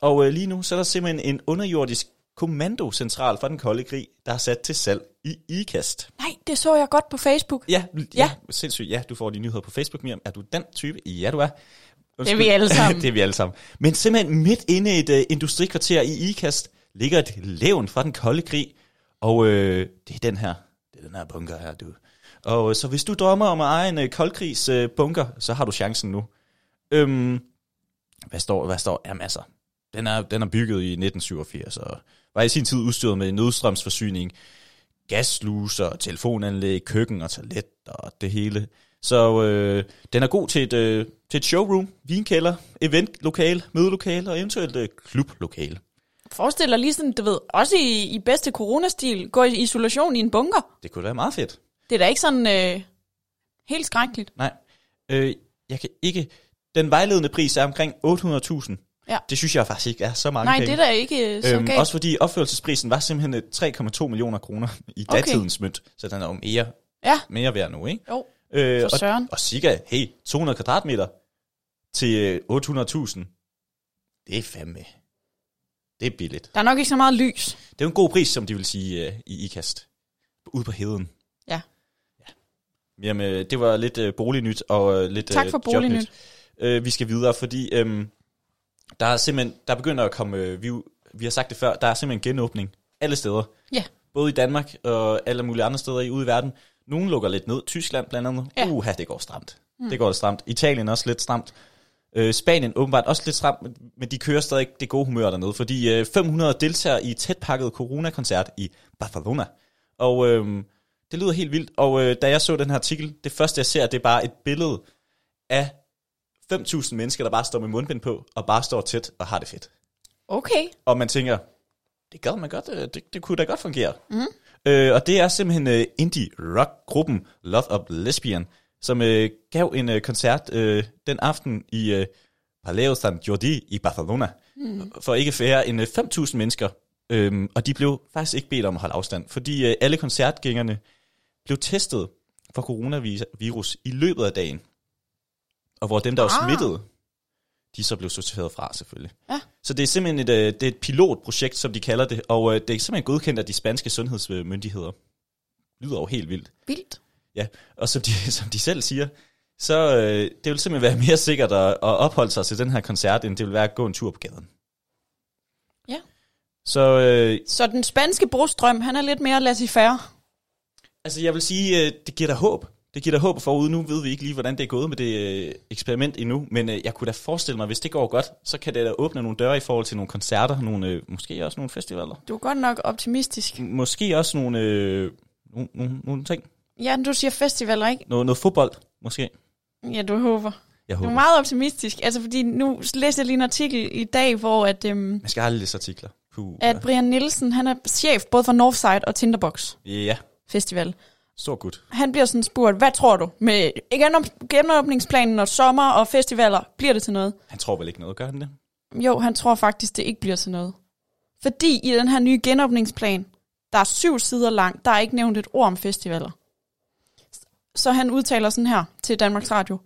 [SPEAKER 1] Og øh, lige nu, så er der simpelthen en underjordisk kommandocentral fra den kolde krig, der er sat til salg i IKAST.
[SPEAKER 2] Nej, det så jeg godt på Facebook.
[SPEAKER 1] Ja, ja, ja,
[SPEAKER 2] Ja.
[SPEAKER 1] sindssygt. Ja, du får de nyheder på Facebook, Miriam. Er du den type? Ja, du er. Undskyld.
[SPEAKER 2] vi alle sammen.
[SPEAKER 1] det er vi alle sammen. Men simpelthen midt inde i et uh, industrikvarter i Ikast ligger et levn fra den kolde krig. Og øh, det er den her. Det er den her bunker her, du. Og øh, så hvis du drømmer om at eje en øh, koldkrigs øh, bunker, så har du chancen nu. Øhm, hvad står, hvad står? Jamen altså, den er, den er bygget i 1987 og var i sin tid udstyret med nødstrømsforsyning, gasluser, telefonanlæg, køkken og toilet og det hele. Så øh, den er god til et, øh, til et showroom, vinkælder, eventlokale, mødelokale og eventuelt øh, klublokale.
[SPEAKER 2] Forestil dig lige sådan, du ved, også i, i bedste coronastil, gå i isolation i en bunker.
[SPEAKER 1] Det kunne da være meget fedt.
[SPEAKER 2] Det er da ikke sådan øh, helt skrækkeligt.
[SPEAKER 1] Nej. Øh, jeg kan ikke... Den vejledende pris er omkring 800.000.
[SPEAKER 2] Ja.
[SPEAKER 1] Det synes jeg faktisk ikke er så mange
[SPEAKER 2] Nej,
[SPEAKER 1] penge.
[SPEAKER 2] det er da ikke øh, så
[SPEAKER 1] Øhm,
[SPEAKER 2] øhm, galt.
[SPEAKER 1] også fordi opførelsesprisen var simpelthen øh, 3,2 millioner kroner i
[SPEAKER 2] Okay.
[SPEAKER 1] datidens mønt, så den er jo mere,
[SPEAKER 2] Ja,
[SPEAKER 1] mere værd nu, ikke?
[SPEAKER 2] jo.
[SPEAKER 1] Øh,
[SPEAKER 2] For
[SPEAKER 1] og,
[SPEAKER 2] søren.
[SPEAKER 1] og cirka, hey, 200 kvadratmeter til øh, 800.000, det er fandme, det er billigt.
[SPEAKER 2] Der er nok ikke så meget lys.
[SPEAKER 1] Det er jo en god pris, som de vil sige øh, i IKAST, ude på heden.
[SPEAKER 2] Ja.
[SPEAKER 1] ja. Jamen, øh, det var lidt øh, bolignyt og øh, lidt
[SPEAKER 2] Tak for
[SPEAKER 1] øh, jobnyt.
[SPEAKER 2] bolignyt.
[SPEAKER 1] Øh, vi skal videre, fordi øh, der er simpelthen, der begynder at komme, øh, vi, vi har sagt det før, der er simpelthen genåbning alle steder.
[SPEAKER 2] Ja.
[SPEAKER 1] Både i Danmark og alle mulige andre steder i ude i verden. Nogle lukker lidt ned. Tyskland blandt andet. Ja.
[SPEAKER 2] Ja.
[SPEAKER 1] Uha, det går stramt. Mm. Det går lidt stramt. Italien også lidt stramt. Øh, Spanien åbenbart også lidt stramt, men- men de kører stadig det gode humør dernede, fordi øh, 500 deltager i et tætpakket coronakoncert i Barcelona. Og øh, det lyder helt vildt. Og øh, da jeg så den her artikel, det første jeg ser, det er bare et billede af 5.000 mennesker, der bare står med mundbind på, og bare står tæt og har det fedt.
[SPEAKER 2] Okay.
[SPEAKER 1] Og man tænker, det gad man godt, øh, det, det kunne da godt fungere. Mm. Øh, og det er simpelthen øh, indie-rock-gruppen Love of Lesbian, som øh, gav en øh, koncert øh, den aften i øh, Palau San Jordi i Barcelona, mm. for ikke færre end øh, 5.000 mennesker. Øhm, og de blev faktisk ikke bedt om at holde afstand, fordi øh, alle koncertgængerne blev testet for coronavirus i løbet af dagen. Og hvor dem, der var
[SPEAKER 2] Ah.
[SPEAKER 1] smittet, de så blev sorteret fra selvfølgelig.
[SPEAKER 2] Ja.
[SPEAKER 1] Så det er simpelthen et, øh, det er et pilotprojekt, som de kalder det, og øh, det er simpelthen godkendt af de spanske sundhedsmyndigheder. Lyder jo helt vildt.
[SPEAKER 2] Vildt.
[SPEAKER 1] Ja, og som de, som de selv siger, så øh, det vil simpelthen være mere sikkert at, at opholde sig til den her koncert, end det vil være at gå en tur på gaden.
[SPEAKER 2] Ja.
[SPEAKER 1] Så øh,
[SPEAKER 2] Så den spanske brostrøm, han er lidt mere laissez-faire.
[SPEAKER 1] altså jeg vil sige, øh, det giver dig håb. Det giver dig håb forude. Nu ved vi ikke lige, hvordan det er gået med det øh, eksperiment endnu, men øh, jeg kunne da forestille mig, hvis det går godt, så kan det da åbne nogle døre i forhold til nogle koncerter, nogle, øh, måske også nogle festivaler.
[SPEAKER 2] Du er godt nok optimistisk.
[SPEAKER 1] måske også nogle, øh, nogle, nogle, nogle ting.
[SPEAKER 2] Ja, du siger festivaler, ikke?
[SPEAKER 1] Noget, noget fodbold, måske.
[SPEAKER 2] Ja, du håber.
[SPEAKER 1] Jeg
[SPEAKER 2] Du
[SPEAKER 1] håber.
[SPEAKER 2] er meget optimistisk. Altså, fordi nu læste jeg lige en artikel i dag, hvor at, øhm,
[SPEAKER 1] Man skal aldrig læse artikler. Puh.
[SPEAKER 2] at Brian Nielsen, han er chef både for Northside og Tinderbox
[SPEAKER 1] Ja,
[SPEAKER 2] Festival.
[SPEAKER 1] stor gut.
[SPEAKER 2] Han bliver sådan spurgt, hvad tror du med genom- genåbningsplanen og sommer og festivaler, bliver det til noget?
[SPEAKER 1] Han tror vel ikke noget, gør han det?
[SPEAKER 2] Jo, han tror faktisk, det ikke bliver til noget. Fordi i den her nye genåbningsplan, der er syv sider lang, der er ikke nævnt et ord om festivaler. Så han udtaler sådan her til Danmarks Radio.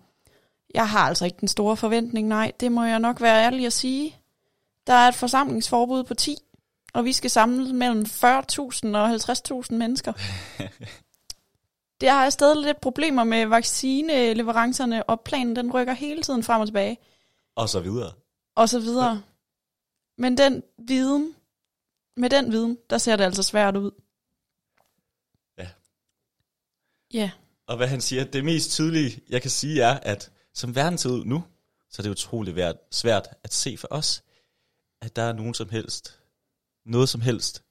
[SPEAKER 2] Jeg har altså ikke den store forventning, nej, det må jeg nok være ærlig at sige. Der er et forsamlingsforbud på 10, og vi skal samle mellem 40.000 og 50.000 mennesker. Det har jeg stadig lidt problemer med vaccineleverancerne, og planen den rykker hele tiden frem og tilbage
[SPEAKER 1] Og så videre.
[SPEAKER 2] og så videre. Men den viden, med den viden, der ser det altså svært ud.
[SPEAKER 1] Ja.
[SPEAKER 2] Ja,
[SPEAKER 1] Og hvad han siger, det mest tydelige, jeg kan sige, er, at som verden ser ud nu, så er det utrolig værd- svært at se for os, at der er nogen som helst, noget som helst.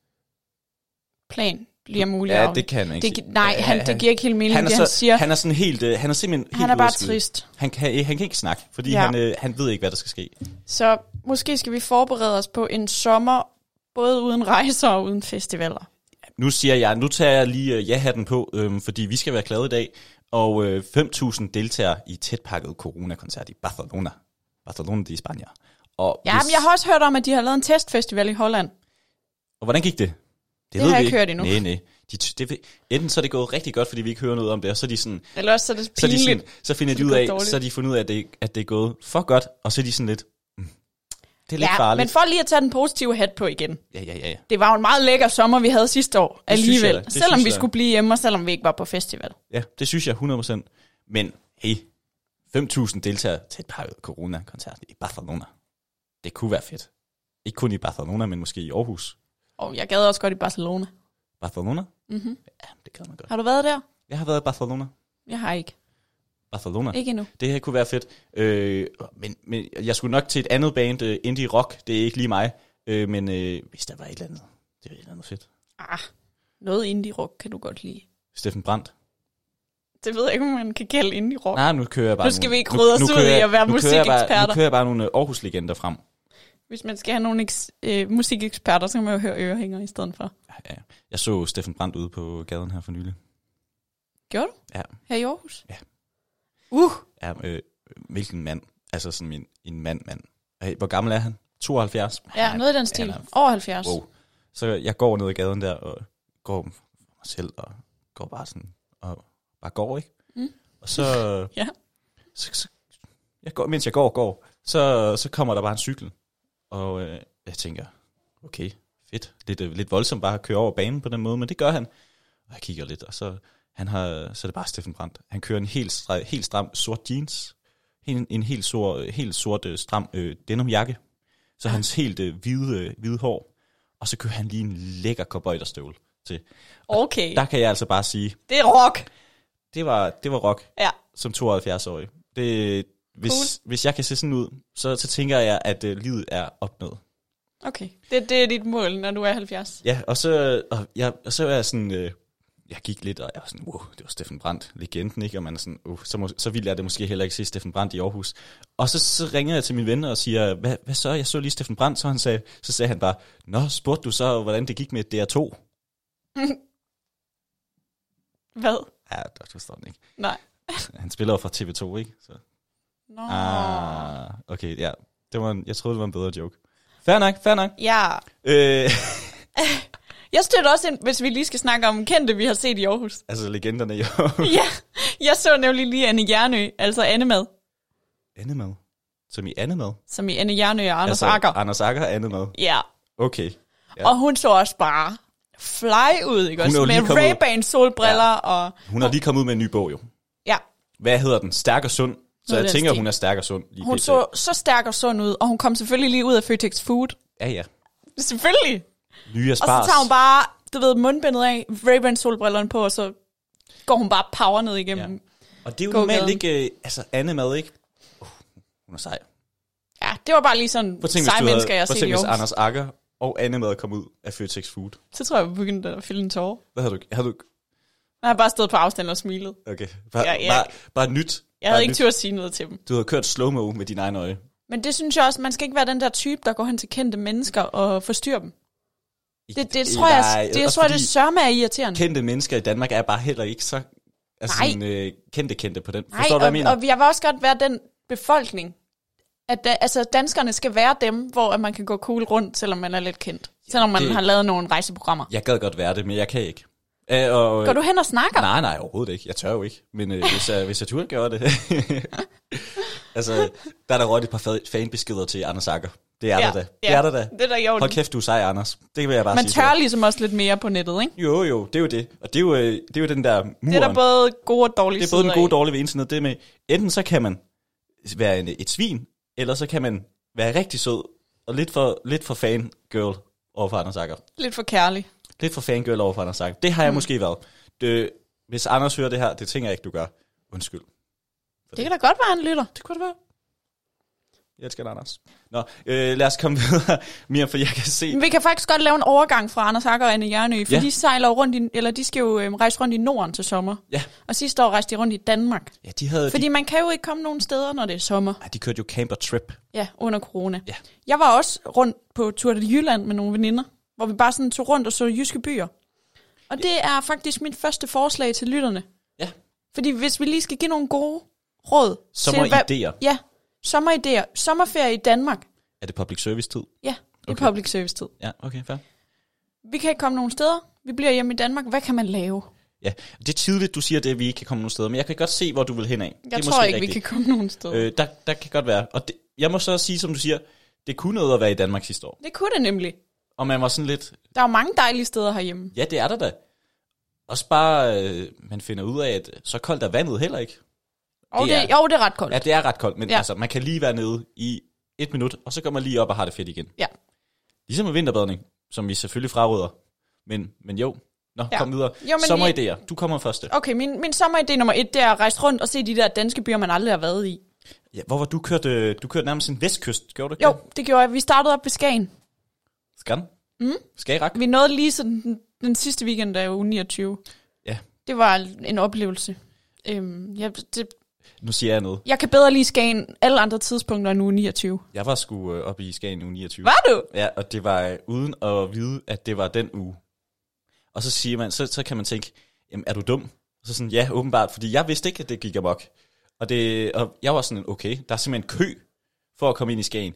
[SPEAKER 2] plan bliver mulig.
[SPEAKER 1] Ja,
[SPEAKER 2] afvist.
[SPEAKER 1] det kan man ikke
[SPEAKER 2] det, gi-
[SPEAKER 1] sige.
[SPEAKER 2] nej,
[SPEAKER 1] Ja,
[SPEAKER 2] han,
[SPEAKER 1] han-
[SPEAKER 2] det giver ikke helt mening,
[SPEAKER 1] han, er
[SPEAKER 2] det
[SPEAKER 1] så,
[SPEAKER 2] han siger. Han,
[SPEAKER 1] han er sådan helt, øh, han er simpelthen helt
[SPEAKER 2] han er bare
[SPEAKER 1] ude at skyde.
[SPEAKER 2] trist.
[SPEAKER 1] Han kan, han kan ikke snakke, fordi ja.
[SPEAKER 2] Ja.
[SPEAKER 1] han, øh, han ved ikke, hvad der skal ske.
[SPEAKER 2] Så måske skal vi forberede os på en sommer, både uden rejser og uden festivaler.
[SPEAKER 1] Nu siger jeg, nu tager jeg lige øh, ja-hatten på, øhm, fordi vi skal være glade i dag. Og øh, 5.000 deltager i tætpakket coronakoncert i Barcelona. Barcelona de Spanien. Og,
[SPEAKER 2] Ja, men jeg har også hørt om, at de har lavet en testfestival i Holland.
[SPEAKER 1] og hvordan gik det?
[SPEAKER 2] Det har jeg ikke hørt endnu.
[SPEAKER 1] Nej, nej. De, ty- det, ved- enten så er det gået rigtig godt, fordi vi ikke hører noget om det, og så, er de sådan,
[SPEAKER 2] Eller også så er det
[SPEAKER 1] så, er de
[SPEAKER 2] pinligt.
[SPEAKER 1] sådan, så finder
[SPEAKER 2] Så
[SPEAKER 1] de
[SPEAKER 2] det
[SPEAKER 1] ud
[SPEAKER 2] går
[SPEAKER 1] af,
[SPEAKER 2] dårligt.
[SPEAKER 1] så er de fundet ud af, at det, at det er gået for godt, og så er de sådan lidt, mm, det er lidt
[SPEAKER 2] ja,
[SPEAKER 1] farligt.
[SPEAKER 2] men for lige at tage den positive hat på igen.
[SPEAKER 1] Ja, ja, ja. ja.
[SPEAKER 2] det var jo en meget lækker sommer, vi havde sidste år
[SPEAKER 1] synes jeg
[SPEAKER 2] alligevel.
[SPEAKER 1] da, det
[SPEAKER 2] selvom
[SPEAKER 1] synes
[SPEAKER 2] vi
[SPEAKER 1] jeg.
[SPEAKER 2] skulle blive hjemme, og selvom vi ikke var på festival.
[SPEAKER 1] Ja, det synes jeg 100%. Men hey, 5.000 deltagere til et par corona-koncert i Barcelona. Det kunne være fedt. Ikke kun i Barcelona, men måske i Aarhus.
[SPEAKER 2] Og jeg gad også godt i Barcelona.
[SPEAKER 1] Barcelona?
[SPEAKER 2] Mm-hmm.
[SPEAKER 1] Ja, det kan man godt.
[SPEAKER 2] Har du været der?
[SPEAKER 1] Jeg har været i Barcelona.
[SPEAKER 2] Jeg har ikke.
[SPEAKER 1] Barcelona.
[SPEAKER 2] Ikke endnu.
[SPEAKER 1] Det her kunne være fedt. Øh, men, men jeg skulle nok til et andet band, uh, Indie Rock. Det er ikke lige mig. Øh, men øh, hvis der var et eller andet, det var et eller andet fedt.
[SPEAKER 2] Ah, noget indie rock kan du godt lide.
[SPEAKER 1] Steffen Brandt.
[SPEAKER 2] Det ved jeg ikke, om man kan kalde indie rock.
[SPEAKER 1] Nej, nu kører jeg bare
[SPEAKER 2] Nu skal
[SPEAKER 1] nogle-
[SPEAKER 2] vi ikke rode os ud
[SPEAKER 1] kører
[SPEAKER 2] i
[SPEAKER 1] jeg-
[SPEAKER 2] at være
[SPEAKER 1] nu kører jeg bare-
[SPEAKER 2] musikeksperter.
[SPEAKER 1] Nu kører jeg bare nogle øh, Aarhus-legender frem.
[SPEAKER 2] Hvis man skal have nogle eks- øh, musikeksperter, så kan man jo høre ørehænger i stedet for.
[SPEAKER 1] Ja, jeg så Steffen Brandt ude på gaden her for nylig.
[SPEAKER 2] Gjorde du?
[SPEAKER 1] Ja.
[SPEAKER 2] Her i Aarhus?
[SPEAKER 1] Ja.
[SPEAKER 2] Uh,
[SPEAKER 1] Ja, øh, hvilken mand? Altså sådan en, en mand, mand. Hey, hvor gammel er han? 72?
[SPEAKER 2] ja, noget i den stil.
[SPEAKER 1] han er-
[SPEAKER 2] Over 70.
[SPEAKER 1] Wow. Så jeg går ned ad gaden der, og går for mig selv, og går bare sådan, og bare går, ikke?
[SPEAKER 2] Mm.
[SPEAKER 1] Og så,
[SPEAKER 2] Ja.
[SPEAKER 1] så, så jeg går, mens jeg går, går, så, så kommer der bare en cykel. Og øh, jeg tænker, okay, fedt. Lidt, øh, lidt voldsomt bare at køre over banen på den måde, men det gør han. Og jeg kigger lidt, og så, han har, så er det bare Steffen Brandt. Han kører en helt, stra- helt stram sort jeans, en, en helt, sort, helt sort øh, stram øh, denimjakke,
[SPEAKER 2] Ah.
[SPEAKER 1] så hans helt øh, hvide, øh, hvide hår, og så kører han lige en lækker cowboyderstøvle til.
[SPEAKER 2] Okay,
[SPEAKER 1] Der kan jeg altså bare sige,
[SPEAKER 2] det er rock.
[SPEAKER 1] det var, det var rock
[SPEAKER 2] Ja.
[SPEAKER 1] som 72-årig. Det, hvis,
[SPEAKER 2] Cool.
[SPEAKER 1] cool. hvis jeg kan se sådan ud, så, så tænker jeg, at øh, livet er opnået.
[SPEAKER 2] Okay, det, det er dit mål, når du er 70.
[SPEAKER 1] Ja, og så, og jeg, og så er jeg sådan, øh, jeg gik lidt, og jeg var sådan, wow, det var Steffen Brandt, legenden, ikke? Og man er sådan, uh, så, må, så ville jeg det måske heller ikke se Steffen Brandt i Aarhus. Og så, så ringer jeg til min venner og siger, hvad, hvad så? Jeg så lige Steffen Brandt, så, han sagde, så sagde han bare, nå, spurgte du så, hvordan det gik med DR2?
[SPEAKER 2] Hvad?
[SPEAKER 1] Ja, det forstår den ikke.
[SPEAKER 2] Nej.
[SPEAKER 1] Han spiller jo fra TV2, ikke? Så,
[SPEAKER 2] Nå.
[SPEAKER 1] ah, okay, ja. Det var en, jeg troede, det var en bedre joke. Fair nok, fair nok.
[SPEAKER 2] Ja.
[SPEAKER 1] Øh,
[SPEAKER 2] Jeg støtter også ind, hvis vi lige skal snakke om kendte, vi har set i Aarhus.
[SPEAKER 1] altså, legenderne jo.
[SPEAKER 2] ja, jeg så nemlig lige Anne Jernø, altså Annemad,
[SPEAKER 1] Andemad. Som i andemad.
[SPEAKER 2] som i Anne Jernø og Anders altså, Akker.
[SPEAKER 1] Anders Akker og andemad.
[SPEAKER 2] Ja,
[SPEAKER 1] Okay. Ja.
[SPEAKER 2] og hun så også bare fly ud, ikke
[SPEAKER 1] Hun er
[SPEAKER 2] også?
[SPEAKER 1] jo
[SPEAKER 2] Med
[SPEAKER 1] lige kommet ud.
[SPEAKER 2] Ray-Ban solbriller ja. og...
[SPEAKER 1] Hun har lige kommet ud med en ny bog, jo.
[SPEAKER 2] Ja,
[SPEAKER 1] Hvad hedder den? Stærk og sund. Så
[SPEAKER 2] Noget
[SPEAKER 1] jeg
[SPEAKER 2] af den
[SPEAKER 1] tænker,
[SPEAKER 2] stil.
[SPEAKER 1] hun er stærk og sund. Lige
[SPEAKER 2] hun
[SPEAKER 1] pt.
[SPEAKER 2] så så stærk og sund ud, og hun kom selvfølgelig lige ud af Føtex Food.
[SPEAKER 1] Ja, ja.
[SPEAKER 2] Selvfølgelig.
[SPEAKER 1] Nye
[SPEAKER 2] Og
[SPEAKER 1] spars.
[SPEAKER 2] så tager hun bare, du ved, mundbindet af, Ray-Ban solbrillerne på, og så går hun bare power ned igennem.
[SPEAKER 1] Ja. Og det er jo
[SPEAKER 2] Gå
[SPEAKER 1] normalt
[SPEAKER 2] gaden.
[SPEAKER 1] ikke... øh, Altså, andemad, ikke? Uh, hun er sej.
[SPEAKER 2] Ja, ja det var bare lige sådan
[SPEAKER 1] Prøv at tænke, hvis,
[SPEAKER 2] seje
[SPEAKER 1] du havde,
[SPEAKER 2] mennesker, jeg har
[SPEAKER 1] prøv at
[SPEAKER 2] set i
[SPEAKER 1] tænke, hvis
[SPEAKER 2] Aarhus.
[SPEAKER 1] Anders Akker og andemad kom ud af Føtex Food.
[SPEAKER 2] Så tror jeg, jeg begyndte at fylde en tårer.
[SPEAKER 1] Hvad havde du... Havde du
[SPEAKER 2] Jeg har bare stået på afstand og smilet.
[SPEAKER 1] okay. Bare,
[SPEAKER 2] Ja,
[SPEAKER 1] ja,
[SPEAKER 2] ja.
[SPEAKER 1] ja. bare, bare nyt.
[SPEAKER 2] Jeg
[SPEAKER 1] bare
[SPEAKER 2] havde ikke
[SPEAKER 1] nyt.
[SPEAKER 2] tur at sige noget til dem.
[SPEAKER 1] Du havde kørt slow-mo med dine egne øje.
[SPEAKER 2] Men det synes jeg også, man skal ikke være den der type, der går hen til kendte mennesker og forstyrrer dem. Det, det tror jeg, det, jeg
[SPEAKER 1] også
[SPEAKER 2] tror, jeg, det
[SPEAKER 1] fordi-
[SPEAKER 2] sørme er irriterende.
[SPEAKER 1] kendte mennesker i Danmark er bare heller ikke så altså
[SPEAKER 2] Nej.
[SPEAKER 1] sådan, øh, kendte kendte på den.
[SPEAKER 2] Nej,
[SPEAKER 1] Forstår du, hvad jeg mener?
[SPEAKER 2] og, og jeg vil også godt være den befolkning, at da, altså, danskerne skal være dem, hvor at man kan gå cool rundt, selvom man er lidt kendt. Selvom man
[SPEAKER 1] det-
[SPEAKER 2] har lavet nogle rejseprogrammer.
[SPEAKER 1] Jeg gad godt være det, men jeg kan ikke. Æ, og, øh,
[SPEAKER 2] Går du hen og snakker?
[SPEAKER 1] Nej, nej, overhovedet ikke. Jeg tør jo ikke. Men øh, hvis, jeg, hvis jeg turde gøre det... altså, der er der råd et par fa- fanbeskeder til Anders Akker. Det er
[SPEAKER 2] Ja,
[SPEAKER 1] der da. Det
[SPEAKER 2] ja.
[SPEAKER 1] er der da.
[SPEAKER 2] Det er der i orden.
[SPEAKER 1] Hold kæft, du er sej, Anders. Det vil jeg bare
[SPEAKER 2] Man
[SPEAKER 1] sige. til
[SPEAKER 2] tør
[SPEAKER 1] dig.
[SPEAKER 2] ligesom også lidt mere på nettet, ikke?
[SPEAKER 1] Jo, jo, det er jo det. Og det er jo, øh, det er jo den der muren.
[SPEAKER 2] Det er der både gode og dårlige
[SPEAKER 1] det er både den
[SPEAKER 2] sider
[SPEAKER 1] gode og
[SPEAKER 2] af.
[SPEAKER 1] dårlige ved internet. Det med, enten så kan man være en, et svin, eller så kan man være rigtig sød og lidt for, lidt for fangirl over for Anders Akker.
[SPEAKER 2] Lidt for kærlig.
[SPEAKER 1] Lidt for fangirl over for Anders Akker. Det har jeg mm. måske været. Det, hvis Anders hører det her, det tænker jeg ikke, du gør. Undskyld.
[SPEAKER 2] Det kan da godt være, han lytter.
[SPEAKER 1] Det kunne det være. Jeg elsker dig, Anders. Nå, øh, lad os komme videre, Mia, for jeg kan se...
[SPEAKER 2] Men vi kan faktisk godt lave en overgang fra Anders Akker og Anne Jernø, for ja.
[SPEAKER 1] Ja.
[SPEAKER 2] de sejler jo rundt i, eller de skal jo øhm, rejse rundt i Norden til sommer.
[SPEAKER 1] Ja,
[SPEAKER 2] Og sidste år rejste de rundt i Danmark.
[SPEAKER 1] ja de, havde,
[SPEAKER 2] Fordi
[SPEAKER 1] de,
[SPEAKER 2] man kan jo ikke komme nogen steder, når det er sommer.
[SPEAKER 1] ej, de kørte jo camper trip.
[SPEAKER 2] Ja, under corona.
[SPEAKER 1] Ja.
[SPEAKER 2] Jeg var også rundt på tur til Jylland med nogle veninder, hvor vi bare sådan tog rundt og så jyske byer. Og det er faktisk mit første forslag til lytterne.
[SPEAKER 1] Ja.
[SPEAKER 2] Fordi hvis vi lige skal give nogle gode råd.
[SPEAKER 1] Sommeridéer.
[SPEAKER 2] Til, ja, sommeridéer. Sommerferie i Danmark.
[SPEAKER 1] Er det public service tid?
[SPEAKER 2] Ja, i
[SPEAKER 1] Okay.
[SPEAKER 2] public service tid.
[SPEAKER 1] Ja, okay, fair.
[SPEAKER 2] Vi kan ikke komme nogen steder. Vi bliver hjemme i Danmark. Hvad kan man lave?
[SPEAKER 1] Ja, det er tidligt, du siger det, at vi ikke kan komme nogen steder, men jeg kan godt se, hvor du vil hen af. det
[SPEAKER 2] Jeg
[SPEAKER 1] er
[SPEAKER 2] tror
[SPEAKER 1] måske
[SPEAKER 2] ikke, rigtigt. vi kan komme nogen steder. Øh.
[SPEAKER 1] Øh, der, der kan godt være. Og det, jeg må så også sige, som du siger, det kunne noget at være i Danmark sidste år.
[SPEAKER 2] Det kunne det nemlig.
[SPEAKER 1] Og man var sådan lidt,
[SPEAKER 2] Der er jo mange dejlige steder herhjemme.
[SPEAKER 1] ja, det er der da. Også bare, øh, man finder ud af, at så koldt er vandet heller ikke.
[SPEAKER 2] Og
[SPEAKER 1] Det
[SPEAKER 2] det,
[SPEAKER 1] er-
[SPEAKER 2] det, jo, det er ret koldt.
[SPEAKER 1] Ja, det er ret koldt, men
[SPEAKER 2] Ja.
[SPEAKER 1] ja. altså, man kan lige være nede i et minut, og så går man lige op og har det fedt igen.
[SPEAKER 2] Ja.
[SPEAKER 1] Ligesom med vinterbadning, som vi selvfølgelig fraråder. Men, men jo, nå,
[SPEAKER 2] Ja.
[SPEAKER 1] ja. kom videre.
[SPEAKER 2] Jo, men
[SPEAKER 1] Sommeridéer, du kommer først.
[SPEAKER 2] Okay, min, min sommeridé nummer et, det er at rejse rundt og se de der danske byer, man aldrig har været i.
[SPEAKER 1] Ja, hvor var du kørt, øh, du kørte nærmest en vestkyst, gjorde du ikke
[SPEAKER 2] Jo,
[SPEAKER 1] det?
[SPEAKER 2] det gjorde jeg. Vi startede op ved Skagen.
[SPEAKER 1] Skan? Mm. Skagerak?
[SPEAKER 2] Vi nåede lige sådan den, den sidste weekend af uge 29.
[SPEAKER 1] Ja,
[SPEAKER 2] Det var en oplevelse. Øhm, jeg, det,
[SPEAKER 1] nu siger jeg noget.
[SPEAKER 2] jeg kan bedre lide Skagen alle andre tidspunkter end uge 29.
[SPEAKER 1] Jeg var sgu øh, oppe i Skagen i uge 29.
[SPEAKER 2] Var du?
[SPEAKER 1] Ja, og det var øh, uden at vide, at det var den uge. Og så siger man, så, så kan man tænke, jamen, er du dum? Og så sådan, ja, åbenbart, fordi jeg vidste ikke, at det gik amok. Og, det, og jeg var sådan, okay, der er simpelthen kø for at komme ind i Skagen.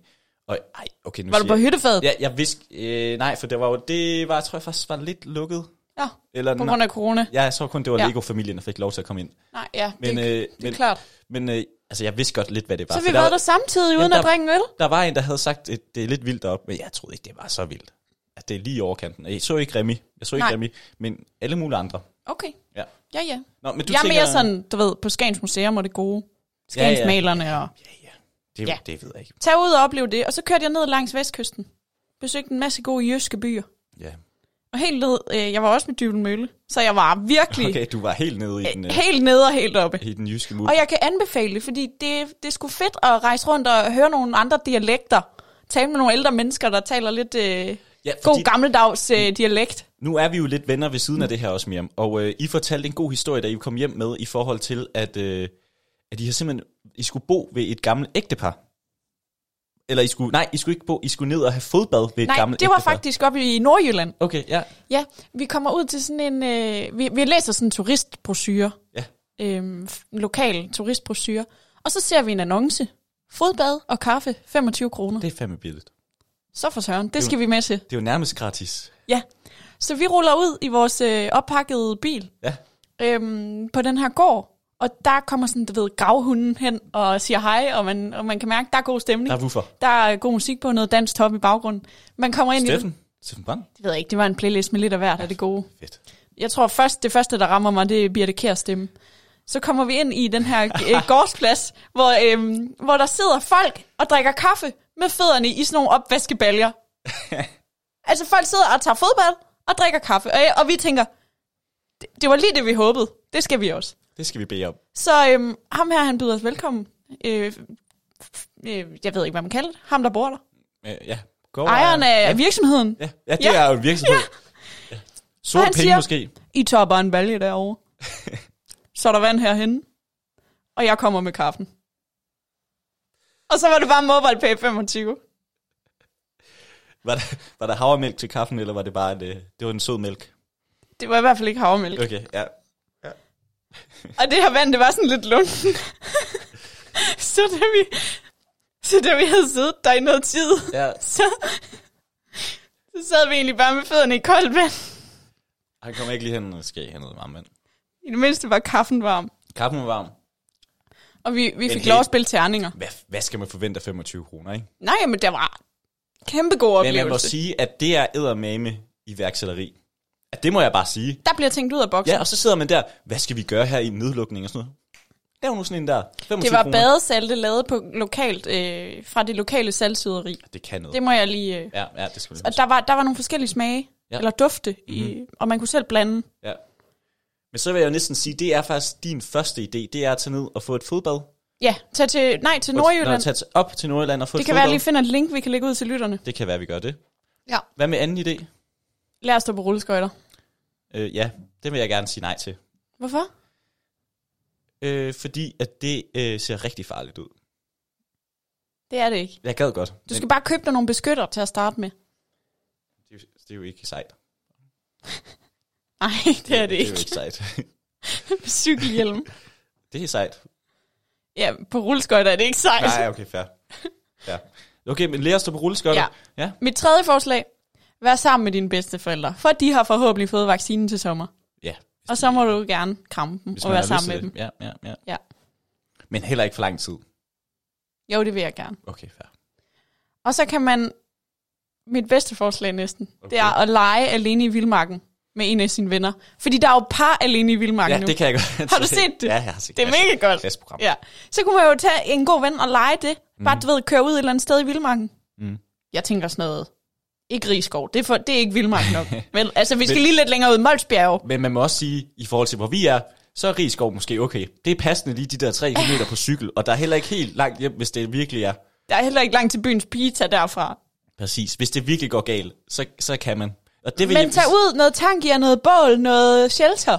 [SPEAKER 1] Og ej, okay, nu
[SPEAKER 2] Var du
[SPEAKER 1] siger
[SPEAKER 2] på hyttefadet?
[SPEAKER 1] jeg, ja, jeg vidste, øh, nej, for det var jo, det var, tror jeg faktisk var lidt lukket.
[SPEAKER 2] ja.
[SPEAKER 1] Eller,
[SPEAKER 2] På grund af corona?
[SPEAKER 1] Ja, jeg tror kun, det var
[SPEAKER 2] Ja.
[SPEAKER 1] Lego-familien, der fik lov til at komme ind.
[SPEAKER 2] Nej, ja,
[SPEAKER 1] Men,
[SPEAKER 2] det,
[SPEAKER 1] øh,
[SPEAKER 2] det er
[SPEAKER 1] men,
[SPEAKER 2] klart.
[SPEAKER 1] men øh, altså, jeg vidste godt lidt, hvad det var.
[SPEAKER 2] Så
[SPEAKER 1] for
[SPEAKER 2] vi
[SPEAKER 1] der,
[SPEAKER 2] var
[SPEAKER 1] var-
[SPEAKER 2] der samtidig uden
[SPEAKER 1] Jamen,
[SPEAKER 2] at
[SPEAKER 1] der-
[SPEAKER 2] drikke en øl?
[SPEAKER 1] der var en, der havde sagt, at det er lidt vildt op, men jeg troede ikke, det var så vildt. At det er lige i overkanten. Jeg så ikke Remy, jeg så ikke
[SPEAKER 2] Nej.
[SPEAKER 1] Remy, men alle mulige andre.
[SPEAKER 2] Okay.
[SPEAKER 1] Ja.
[SPEAKER 2] Ja, ja.
[SPEAKER 1] Nå, men
[SPEAKER 2] Du jeg er mere sådan, du ved, på Skagens Museum og det gode. Skagensmalerne og...
[SPEAKER 1] Ja, ja. Det,
[SPEAKER 2] Ja.
[SPEAKER 1] ja. det ved jeg ikke.
[SPEAKER 2] Tag ud og opleve det, og så kørte jeg ned langs vestkysten. Besøgte en masse gode jyske byer.
[SPEAKER 1] Ja.
[SPEAKER 2] Og helt ned, øh, jeg var også med Dyvlen Mølle, så jeg var virkelig okay.
[SPEAKER 1] Okay, du var helt nede i den, øh,
[SPEAKER 2] helt nede og helt oppe.
[SPEAKER 1] i den jyske mul.
[SPEAKER 2] Og jeg kan anbefale det, fordi det, det er sgu fedt at rejse rundt og høre nogle andre dialekter. Tale med nogle ældre mennesker, der taler lidt øh,
[SPEAKER 1] ja,
[SPEAKER 2] god gammeldags øh, dialekt.
[SPEAKER 1] nu er vi jo lidt venner ved siden af det her også, Miriam. Og øh, I fortalte en god historie, da I kom hjem med, i forhold til, at, øh, at I har simpelthen I skulle bo ved et gammelt ægtepar. Eller I skulle, nej, I skulle ikke bo, I skulle ned og have fodbad ved et
[SPEAKER 2] Nej,
[SPEAKER 1] gammelt
[SPEAKER 2] det var
[SPEAKER 1] ægtepar.
[SPEAKER 2] faktisk oppe i Nordjylland.
[SPEAKER 1] Okay, ja.
[SPEAKER 2] Ja, vi kommer ud til sådan en... Øh, vi, vi læser sådan en turistbrochure.
[SPEAKER 1] Ja.
[SPEAKER 2] Øhm, f- en lokal turistbrochure. Og så ser vi en annonce. Fodbad og kaffe, 25 kroner.
[SPEAKER 1] Det er fandme billigt.
[SPEAKER 2] Så for søren, det skal vi med til.
[SPEAKER 1] Det er jo nærmest gratis.
[SPEAKER 2] Ja. Så vi ruller ud i vores øh, oppakkede bil
[SPEAKER 1] Ja.
[SPEAKER 2] øhm, på den her gård. Og der kommer sådan, du ved, gravhunden hen og siger hej, og man, og man kan mærke, der er god stemning.
[SPEAKER 1] Der er hvorfor.
[SPEAKER 2] Der er god musik på, noget dansk top i baggrunden. Man kommer ind i
[SPEAKER 1] Steffen? Steffen Brand?
[SPEAKER 2] det. Det ved jeg ikke, det var en playlist med lidt af hvert af det gode.
[SPEAKER 1] Fedt.
[SPEAKER 2] Jeg tror først, det første, der rammer mig, det er Birte Kærs stemme. Så kommer vi ind i den her øh, gårdsplads, hvor, øhm, hvor der sidder folk og drikker kaffe med fødderne i sådan nogle opvaskebaljer. altså folk sidder og tager fodbold og drikker kaffe, og, og vi tænker, det, det var lige det, vi håbede. Det skal vi også.
[SPEAKER 1] Det skal vi bede om.
[SPEAKER 2] Så øhm, ham her, han byder os velkommen. Øh, øh, jeg ved ikke, hvad man kalder det. Ham, der bor der.
[SPEAKER 1] Øh, ja. Går
[SPEAKER 2] Ejeren af virksomheden.
[SPEAKER 1] Ja, ja det
[SPEAKER 2] Ja.
[SPEAKER 1] ja. er jo en virksomhed. Ja. Sort penge
[SPEAKER 2] Og han siger-
[SPEAKER 1] måske.
[SPEAKER 2] I tager bare en balje derovre. så er der vand herhen. Og jeg kommer med kaffen. Og så var det bare MobilePay 25.
[SPEAKER 1] Var der, var der havremælk til kaffen, eller var det bare en, øh, det var en sød mælk?
[SPEAKER 2] Det var i hvert fald ikke havremælk. Okay.
[SPEAKER 1] Okay, ja.
[SPEAKER 2] Og det her vand, det var sådan lidt lunden. så da vi, så da vi havde siddet der i noget tid,
[SPEAKER 1] ja.
[SPEAKER 2] så, så sad vi egentlig bare med fødderne i koldt vand.
[SPEAKER 1] Han kommer ikke lige hen, og skal have noget varmt vand.
[SPEAKER 2] I det mindste var kaffen varm.
[SPEAKER 1] Kaffen var varm.
[SPEAKER 2] Og vi, vi fik
[SPEAKER 1] helt-
[SPEAKER 2] lov at spille terninger.
[SPEAKER 1] Hvad, hvad skal man forvente af 25 kroner, ikke?
[SPEAKER 2] Nej, men det var kæmpe god
[SPEAKER 1] Men
[SPEAKER 2] oplevelse.
[SPEAKER 1] man må sige, at det er eddermame iværksætteri. At det må jeg bare sige.
[SPEAKER 2] Der bliver tænkt ud af boksen.
[SPEAKER 1] Ja, og så sidder man der, hvad skal vi gøre her i en nedlukning og sådan noget? Lav nu sådan en der. 25
[SPEAKER 2] Det var
[SPEAKER 1] kroner.
[SPEAKER 2] badesalte lavet på lokalt, øh, fra det lokale salgsyderi.
[SPEAKER 1] Det kan noget.
[SPEAKER 2] Det må jeg lige... Øh.
[SPEAKER 1] Ja, ja, det skal vi
[SPEAKER 2] Og der var, der var nogle forskellige smage, ja.
[SPEAKER 1] Ja. Mhm.
[SPEAKER 2] eller dufte, mm-hmm. i, og man kunne selv blande.
[SPEAKER 1] Ja. Men så vil jeg jo næsten sige, det er faktisk din første idé, det er at tage ned og få et fodbad.
[SPEAKER 2] Ja, tag til, nej, til
[SPEAKER 1] Nå,
[SPEAKER 2] Nordjylland.
[SPEAKER 1] tage til- op til Nordjylland og få
[SPEAKER 2] Det
[SPEAKER 1] et
[SPEAKER 2] kan
[SPEAKER 1] fodbad.
[SPEAKER 2] være, at jeg lige finder et link, vi kan lægge ud til lytterne.
[SPEAKER 1] Det kan være, vi gør det.
[SPEAKER 2] Ja.
[SPEAKER 1] Hvad med anden idé?
[SPEAKER 2] Lad os stå på rulleskøjter.
[SPEAKER 1] Øh, ja, det vil jeg gerne sige nej til.
[SPEAKER 2] Hvorfor?
[SPEAKER 1] Øh, fordi at det øh, ser rigtig farligt ud.
[SPEAKER 2] Det er det ikke.
[SPEAKER 1] Jeg gad godt.
[SPEAKER 2] Du skal bare købe dig nogle beskytter til at starte med.
[SPEAKER 1] Men det, er jo- det er jo ikke sejt.
[SPEAKER 2] Nej, det er det
[SPEAKER 1] Det er jo
[SPEAKER 2] ikke.
[SPEAKER 1] ikke sejt.
[SPEAKER 2] Cykelhjelm.
[SPEAKER 1] det er sejt.
[SPEAKER 2] Ja, på rulleskøjter er det ikke sejt.
[SPEAKER 1] Nej, okay, fair. Ja. Okay, men lærer at stå på rulleskøjter.
[SPEAKER 2] Ja.
[SPEAKER 1] ja.
[SPEAKER 2] Mit tredje forslag. Vær sammen med dine bedsteforældre, for de har forhåbentlig fået vaccinen til sommer.
[SPEAKER 1] Ja.
[SPEAKER 2] Og så må du gerne kramme dem
[SPEAKER 1] Hvis
[SPEAKER 2] og
[SPEAKER 1] man
[SPEAKER 2] være
[SPEAKER 1] har lyst
[SPEAKER 2] sammen med
[SPEAKER 1] til
[SPEAKER 2] dem.
[SPEAKER 1] det. Ja, ja, ja.
[SPEAKER 2] Ja.
[SPEAKER 1] Men heller ikke for lang tid.
[SPEAKER 2] Jo, det vil jeg gerne.
[SPEAKER 1] Okay, fair.
[SPEAKER 2] Og så kan man, mit bedste forslag næsten, okay. det
[SPEAKER 1] Okay.
[SPEAKER 2] er at lege alene i vildmarken med en af sine venner. Fordi der er jo par alene i vildmarken
[SPEAKER 1] Ja,
[SPEAKER 2] nu.
[SPEAKER 1] det kan jeg godt.
[SPEAKER 2] Har du set det?
[SPEAKER 1] Ja, jeg har set
[SPEAKER 2] det er mega godt.
[SPEAKER 1] Klasse program.
[SPEAKER 2] Ja. Så kunne man jo tage en god ven og lege det. Bare, du ved, køre ud et eller andet sted i vildmarken.
[SPEAKER 1] Mm.
[SPEAKER 2] Jeg tænker sådan noget. Ikke Rigskov. Det er, for, det er ikke vildmark nok. Men altså, vi skal lige lidt længere ud. Molsbjerg.
[SPEAKER 1] Men man må også sige, i forhold til hvor vi er, så er Rigskov måske okay. Det er passende lige de der 3 km på cykel, og der er heller ikke helt langt hjem, hvis det virkelig er.
[SPEAKER 2] Der er heller ikke langt til byens pizza derfra.
[SPEAKER 1] Præcis. Hvis det virkelig går galt, så, så kan man. Og det vil
[SPEAKER 2] Men
[SPEAKER 1] jeg-
[SPEAKER 2] tag ud noget tangier, noget bål, noget shelter.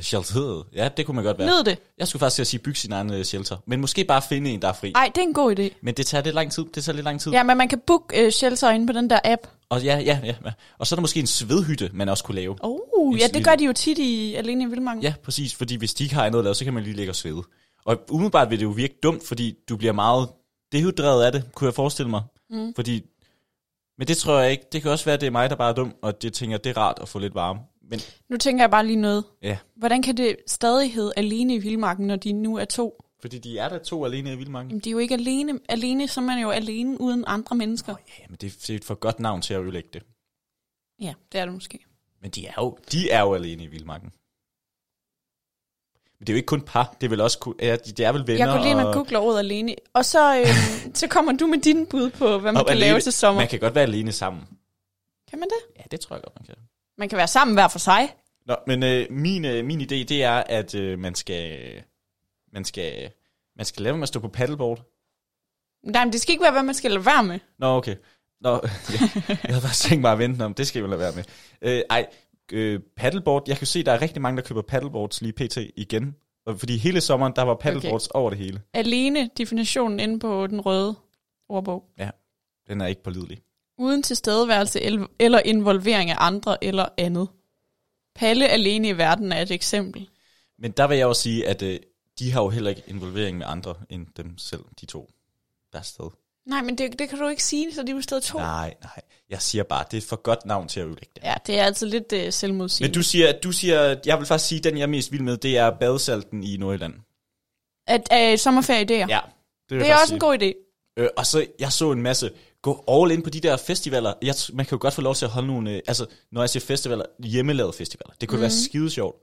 [SPEAKER 1] Shelter. Ja, det kunne man godt være.
[SPEAKER 2] Nyd det.
[SPEAKER 1] Jeg skulle faktisk til at sige, bygge sin egen øh, shelter. Men måske bare finde en, der er fri.
[SPEAKER 2] Ej, det er en god idé.
[SPEAKER 1] Men det tager lidt lang tid. Det tager lidt lang tid.
[SPEAKER 2] Ja, men man kan booke uh, shelter inde på den der app.
[SPEAKER 1] Og, ja, ja, ja, ja. og så er der måske en svedhytte, man også kunne lave.
[SPEAKER 2] Oh,
[SPEAKER 1] En
[SPEAKER 2] ja, det
[SPEAKER 1] svild-
[SPEAKER 2] gør de jo tit i Alene i Vildmarken.
[SPEAKER 1] Ja, præcis. Fordi hvis de ikke har andet at lave, så kan man lige ligge og svede. Og umiddelbart vil det jo virke dumt, fordi du bliver meget dehydreret af det, kunne jeg forestille mig. Mm. Fordi, men det tror jeg ikke. Det kan også være, at det er mig, der bare er dum, og det tænker, det er rart at få lidt varme. Men
[SPEAKER 2] Nu tænker jeg bare lige noget.
[SPEAKER 1] ja,
[SPEAKER 2] Hvordan kan det stadig hedde alene i vildmarken, når de nu er to?
[SPEAKER 1] fordi de er der to alene i Vildmarken.
[SPEAKER 2] Jamen, de er jo ikke alene. Alene, så er man jo alene uden andre mennesker.
[SPEAKER 1] Ja, men det er et for godt navn til at ødelægge det.
[SPEAKER 2] Ja, det er det måske.
[SPEAKER 1] Men de er jo, de er jo alene i Vildmarken. Men det er jo ikke kun par, det er vel også, ku- ja, de, de er vel venner.
[SPEAKER 2] Jeg går lige ind og
[SPEAKER 1] og-
[SPEAKER 2] googler ordet alene. Og så, øhm, så kommer du med din bud på, hvad man
[SPEAKER 1] og
[SPEAKER 2] kan
[SPEAKER 1] alene.
[SPEAKER 2] lave til sommer.
[SPEAKER 1] Man kan godt være alene sammen.
[SPEAKER 2] Kan man det?
[SPEAKER 1] Ja, det tror jeg godt, man kan.
[SPEAKER 2] Man kan være sammen hver for sig.
[SPEAKER 1] Nå, men øh, min, øh, min idé, det er, at øh, man skal, man skal, man skal lade være med at stå på paddleboard.
[SPEAKER 2] Nej, men det skal ikke være, hvad man skal lade være med.
[SPEAKER 1] Nå, okay. Nå, ja, jeg havde bare tænkt mig at vente om, det skal jeg lade være med. Øh, ej, øh, paddleboard, jeg kan jo se, der er rigtig mange, der køber paddleboards lige pt. igen. Og Fordi hele sommeren, der var paddleboards okay. over det hele.
[SPEAKER 2] Alene, definitionen inde på den røde ordbog.
[SPEAKER 1] Den er ikke pålidelig.
[SPEAKER 2] Uden tilstedeværelse el- eller involvering af andre eller andet. Palle alene i verden er et eksempel.
[SPEAKER 1] Men der vil jeg også sige, at øh, de har jo heller ikke involvering med andre end dem selv, de to, der er sted.
[SPEAKER 2] Nej, men det, det kan du ikke sige, så det er jo stadig to.
[SPEAKER 1] Nej, nej. Jeg siger bare, det er et for godt navn til at ødelægge det.
[SPEAKER 2] Ja, det er altså lidt øh, selvmodsigende.
[SPEAKER 1] Men du siger, du siger, jeg vil faktisk sige, at den jeg er mest vild med, det er badesalten i Nordjylland.
[SPEAKER 2] At øh, sommerferieidéer. Ja,
[SPEAKER 1] vil
[SPEAKER 2] det
[SPEAKER 1] jeg
[SPEAKER 2] er
[SPEAKER 1] faktisk
[SPEAKER 2] også en god idé.
[SPEAKER 1] sige. Øh, og så, jeg så en masse, gå all in på de der festivaler. Jeg, tr- man kan jo godt få lov til at holde nogle, øh, altså når jeg siger festivaler, hjemmelavede festivaler. Det kunne mm. være
[SPEAKER 2] Mhm.
[SPEAKER 1] skide sjovt.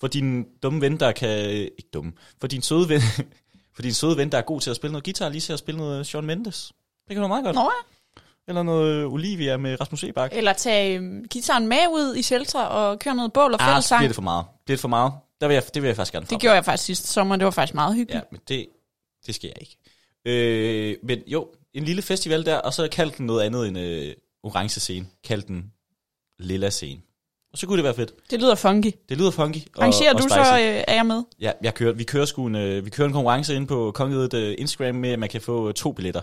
[SPEAKER 1] For din dumme ven, der kan, øh, ikke dumme, for din søde ven, for din søde ven, der er god til at spille noget guitar, lige til at spille noget Shawn Mendes. Det kan være meget godt.
[SPEAKER 2] Nå ja.
[SPEAKER 1] Eller noget øh, Olivia med Rasmus Sebak.
[SPEAKER 2] Eller tage øh, gitaren med ud i shelter og køre noget bål og
[SPEAKER 1] Ah, så
[SPEAKER 2] fællessang.
[SPEAKER 1] bliver det
[SPEAKER 2] det,
[SPEAKER 1] for meget. Bliver det for meget? Der vil jeg, det vil jeg faktisk gerne frem.
[SPEAKER 2] det gjorde jeg faktisk sidste sommer, det var faktisk meget
[SPEAKER 1] Ja,
[SPEAKER 2] hyggeligt.
[SPEAKER 1] men det, det skal jeg ikke. Øh, men jo, en lille festival der, og så kald den noget andet end øh, orange scene. Kald den lilla scene. Og så kunne det være fedt.
[SPEAKER 2] Ja. Det lyder funky.
[SPEAKER 1] Det lyder funky. Og,
[SPEAKER 2] Arrangerer
[SPEAKER 1] og
[SPEAKER 2] du så,
[SPEAKER 1] spicy.
[SPEAKER 2] øh, er jeg med?
[SPEAKER 1] Ja, jeg kører, vi, kører sgu en, øh, vi kører en konkurrence ind på Kongeriget øh, Instagram med, at man kan få øh, to billetter.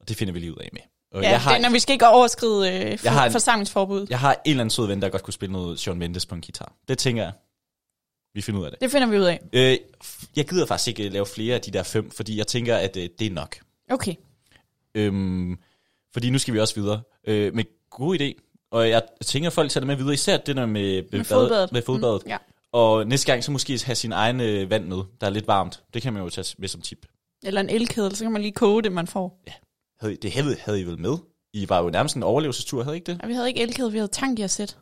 [SPEAKER 1] Og det finder vi lige ud af med. Og
[SPEAKER 2] Ja,
[SPEAKER 1] jeg, har,
[SPEAKER 2] det, når vi skal ikke overskride øh, for,
[SPEAKER 1] Jeg har en-
[SPEAKER 2] forsamlingsforbuddet. Ja.
[SPEAKER 1] jeg har en eller anden sød ven, der godt kunne spille noget Sean Mendes på en guitar. Det tænker jeg. Vi finder ud af det.
[SPEAKER 2] Det finder vi ud af.
[SPEAKER 1] Øh, f- jeg gider faktisk ikke øh, lave flere af de der fem, fordi jeg tænker, at øh, det er nok.
[SPEAKER 2] Okay.
[SPEAKER 1] Øhm, fordi nu skal vi også videre. Øh, men god idé. Og jeg tænker, at folk tager det med videre, især det der med, med,
[SPEAKER 2] fodbadet.
[SPEAKER 1] med fodbadet.
[SPEAKER 2] Mm, ja.
[SPEAKER 1] Og næste gang så måske have sin egen øh, vand med, der er lidt varmt. Det kan man jo tage med som tip.
[SPEAKER 2] Eller en elkedel, så kan man lige koge det, man får.
[SPEAKER 1] Havde, I- det havde, havde I vel med? I var jo nærmest en overlevelsestur, havde I ikke det?
[SPEAKER 2] Ja, vi havde ikke elkedel, vi havde tangiasæt.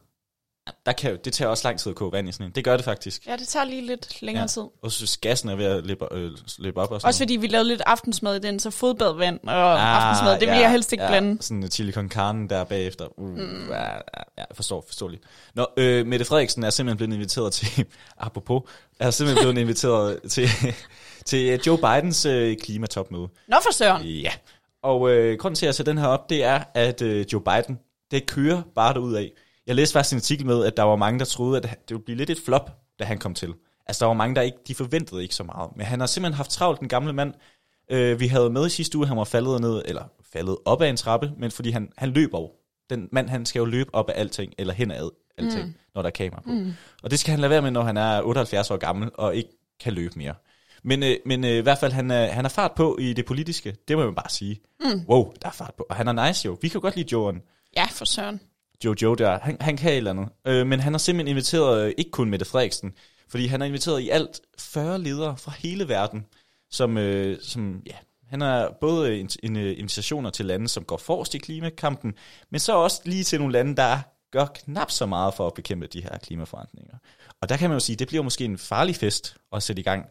[SPEAKER 1] Der kan, jo- det tager også lang tid at koge vand i sådan en. Det gør det faktisk.
[SPEAKER 2] Ja, det tager lige lidt længere
[SPEAKER 1] Ja.
[SPEAKER 2] ja. tid.
[SPEAKER 1] Og så synes gassen er ved at løbe, øh, løbe op og sådan
[SPEAKER 2] Også fordi vi lavede lidt aftensmad i den, så fodbadvand og ah, aftensmad, det vil jeg helst ikke ja. blande.
[SPEAKER 1] Sådan en chili con carne der bagefter. Uh, mm. ja, ja, ja, forstår, forståeligt. Nå, øh, Mette Frederiksen er simpelthen blevet inviteret til, apropos, er simpelthen blevet inviteret til, til Joe Bidens øh, klimatopmøde.
[SPEAKER 2] Nå for søren.
[SPEAKER 1] Ja, og øh, grunden til, at jeg sætter den her op, det er, at øh, Joe Biden, det kører bare af. Jeg læste faktisk en artikel med, at der var mange, der troede, at det ville blive lidt et flop, da han kom til. Altså, der var mange, der ikke, de forventede ikke så meget. Men han har simpelthen haft travlt, den gamle mand. Øh, vi havde med i sidste uge, han var faldet ned, eller faldet op ad en trappe, men fordi han, han løber jo. Den mand, han skal jo løbe op af alting, eller hen ad alting, mm. når der er kamera på. Mm. Og det skal han lade være med, når han er 78 år gammel, og ikke kan løbe mere. Men, øh, men øh, i hvert fald, han, er, han har fart på i det politiske. Det må man bare sige. Mm. Wow, der er fart på. Og han er nice jo. Vi kan jo godt lide Joen.
[SPEAKER 2] Ja, for søren.
[SPEAKER 1] Jojo der, han, han kan et eller andet. Øh, men han har simpelthen inviteret, øh, ikke kun Mette Frederiksen, fordi han har inviteret i alt 40 ledere fra hele verden, som, øh, som ja, han har både øh, en, en, øh, invitationer til lande, som går forrest i klimakampen, men så også lige til nogle lande, der gør knap så meget for at bekæmpe de her klimaforandringer. Og der kan man jo sige, det bliver måske en farlig fest at sætte i gang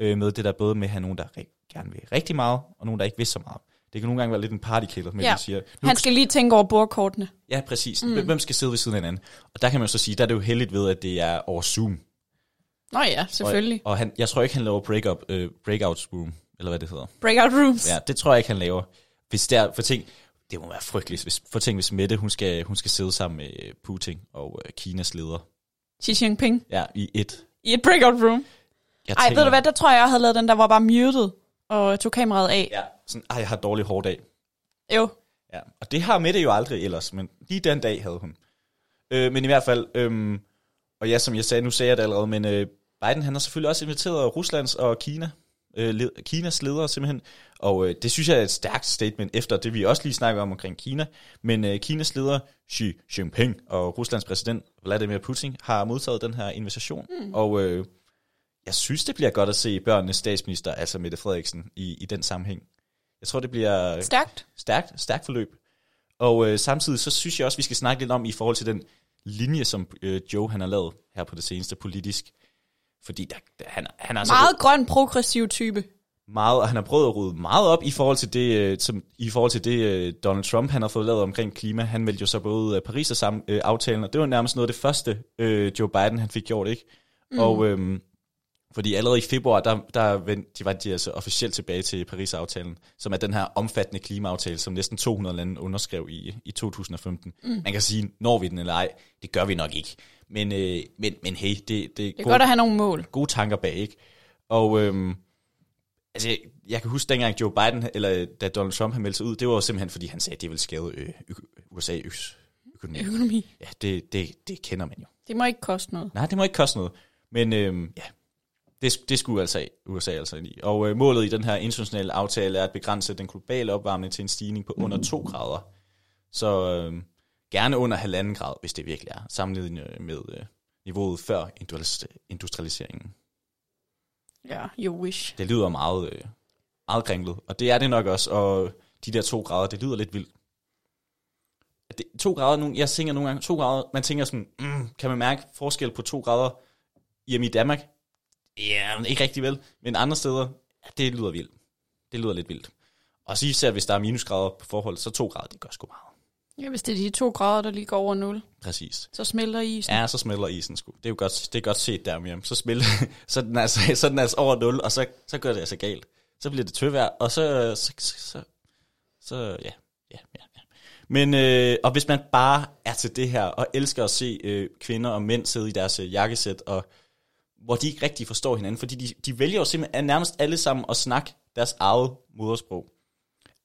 [SPEAKER 1] øh, med det der både med at have nogen, der ri- gerne vil rigtig meget, og nogen, der ikke vil så meget. Det kan nogle gange være lidt en partykiller, men
[SPEAKER 2] Ja.
[SPEAKER 1] ja. man siger, nu
[SPEAKER 2] Han skal lige tænke over bordkortene.
[SPEAKER 1] Ja, præcis. Mm. Hvem skal sidde ved siden af hinanden? Og der kan man jo så sige, der er det jo heldigt ved, at det er over Zoom.
[SPEAKER 2] Nå ja, selvfølgelig.
[SPEAKER 1] Og, og han, jeg tror ikke, han laver break-up, øh, breakout room, eller hvad det hedder.
[SPEAKER 2] Breakout rooms.
[SPEAKER 1] Ja, det tror jeg ikke, han laver. Hvis der, for ting, det må være frygteligt, hvis, for ting, hvis Mette, hun skal, hun skal sidde sammen med Putin og øh, Kinas leder.
[SPEAKER 2] Xi Jinping.
[SPEAKER 1] Ja, i et.
[SPEAKER 2] I et breakout room.
[SPEAKER 1] Jeg
[SPEAKER 2] Ej, ved du hvad, der tror jeg, jeg havde lavet den, der var bare muted og tog kameraet af.
[SPEAKER 1] Ja, sådan, ej, jeg har dårlig hård dag.
[SPEAKER 2] Jo,
[SPEAKER 1] Ja, og det har Mette jo aldrig ellers, men lige den dag havde hun. Øh, men i hvert fald, øhm, og ja, som jeg sagde, nu sagde jeg det allerede, men øh, Biden han har selvfølgelig også inviteret Ruslands og Kina øh, led, Kinas ledere simpelthen. Og øh, det synes jeg er et stærkt statement efter det, vi også lige snakker om omkring Kina. Men øh, Kinas leder Xi Jinping og Ruslands præsident Vladimir Putin har modtaget den her invitation. Mm. Og øh, jeg synes, det bliver godt at se børnenes statsminister, altså Mette Frederiksen, i, i den sammenhæng. Jeg tror, det bliver
[SPEAKER 2] Stærkt.
[SPEAKER 1] stærkt, stærkt forløb. Og øh, samtidig så synes jeg også, vi skal snakke lidt om i forhold til den linje, som øh, Joe han har lavet her på det seneste politisk. Fordi der, der, han, han er altså
[SPEAKER 2] Meget grøn, progressiv type.
[SPEAKER 1] meget, og han har prøvet at rydde meget op i forhold til det, øh, som, i forhold til det øh, Donald Trump han har fået lavet omkring klima. Han meldte jo så både øh, Paris og sammen, øh, aftalen, og det var nærmest noget af det første, øh, Joe Biden han fik gjort, ikke? Mm. Og øhm, fordi allerede i februar, der, der vendte, de var de altså officielt tilbage til Paris-aftalen, som er den her omfattende klimaaftale, som næsten 200 lande underskrev i, i 2015. Mm. Man kan sige, når vi den eller ej, det gør vi nok ikke. Men, øh, men, men hey, det, det,
[SPEAKER 2] Det er godt at have nogle mål.
[SPEAKER 1] gode tanker bag, ikke? Og øhm, altså, jeg, jeg kan huske dengang Joe Biden, eller da Donald Trump han meldte sig ud, det var jo simpelthen, fordi han sagde, at det ville skade øh, ø- USA øs, økonomi.
[SPEAKER 2] Økonomi.
[SPEAKER 1] Ja, det, det, det kender man jo.
[SPEAKER 2] Det må ikke koste noget.
[SPEAKER 1] Nej, det må ikke koste noget. Men øhm, ja, det, det skulle altså USA altså ind i. Og øh, målet i den her internationale aftale er at begrænse den globale opvarmning til en stigning på under 2 grader. Så øh, gerne under halvanden grad, hvis det virkelig er, sammenlignet med øh, niveauet før industrialis- industrialiseringen.
[SPEAKER 2] Ja, you wish.
[SPEAKER 1] Det lyder meget, øh, meget kringlet, og det er det nok også, og de der to grader, det lyder lidt vildt. At Det, to grader, nu, jeg tænker nogle gange, to grader, man tænker sådan, mm, kan man mærke forskel på to grader hjemme i Danmark? Ja, men ikke rigtig vel, men andre steder, ja, det lyder vildt. Det lyder lidt vildt. Og så især, hvis der er minusgrader på forhold, så to grader, det gør sgu meget.
[SPEAKER 2] Ja, hvis det er de to grader, der lige går over 0,
[SPEAKER 1] Præcis.
[SPEAKER 2] så smelter isen.
[SPEAKER 1] Ja, så smelter isen sgu. Det er jo godt, det er godt set der, Miriam. Så, smelter, så, er den altså, så er den altså over 0, og så, så gør det altså galt. Så bliver det tøvejr, og så, så, så, så, så ja, ja, ja, ja. Men, øh, og hvis man bare er til det her, og elsker at se øh, kvinder og mænd sidde i deres øh, jakkesæt, og hvor de ikke rigtig forstår hinanden, fordi de, de vælger jo simpelthen nærmest alle sammen at snakke deres eget modersprog.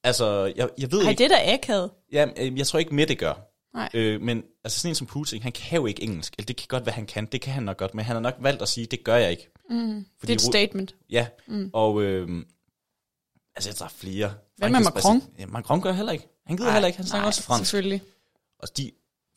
[SPEAKER 1] Altså, jeg, jeg ved
[SPEAKER 2] Ej,
[SPEAKER 1] ikke...
[SPEAKER 2] det er da akavet.
[SPEAKER 1] Ja, øh, jeg tror ikke, Mette gør.
[SPEAKER 2] Nej.
[SPEAKER 1] Øh, men altså sådan en som Putin, han kan jo ikke engelsk. Eller det kan godt være, han kan. Det kan han nok godt. Men han har nok valgt at sige, det gør jeg ikke.
[SPEAKER 2] Mm, det
[SPEAKER 1] Fordi
[SPEAKER 2] er et
[SPEAKER 1] Ru-
[SPEAKER 2] statement.
[SPEAKER 1] Ja. Mm. Og øh, altså, jeg tager flere.
[SPEAKER 2] Hvad med
[SPEAKER 1] Frankrigs
[SPEAKER 2] Macron?
[SPEAKER 1] præsident- Ja, Macron gør heller ikke. Han gider heller ikke. Han snakker
[SPEAKER 2] nej,
[SPEAKER 1] også fransk.
[SPEAKER 2] selvfølgelig.
[SPEAKER 1] Og de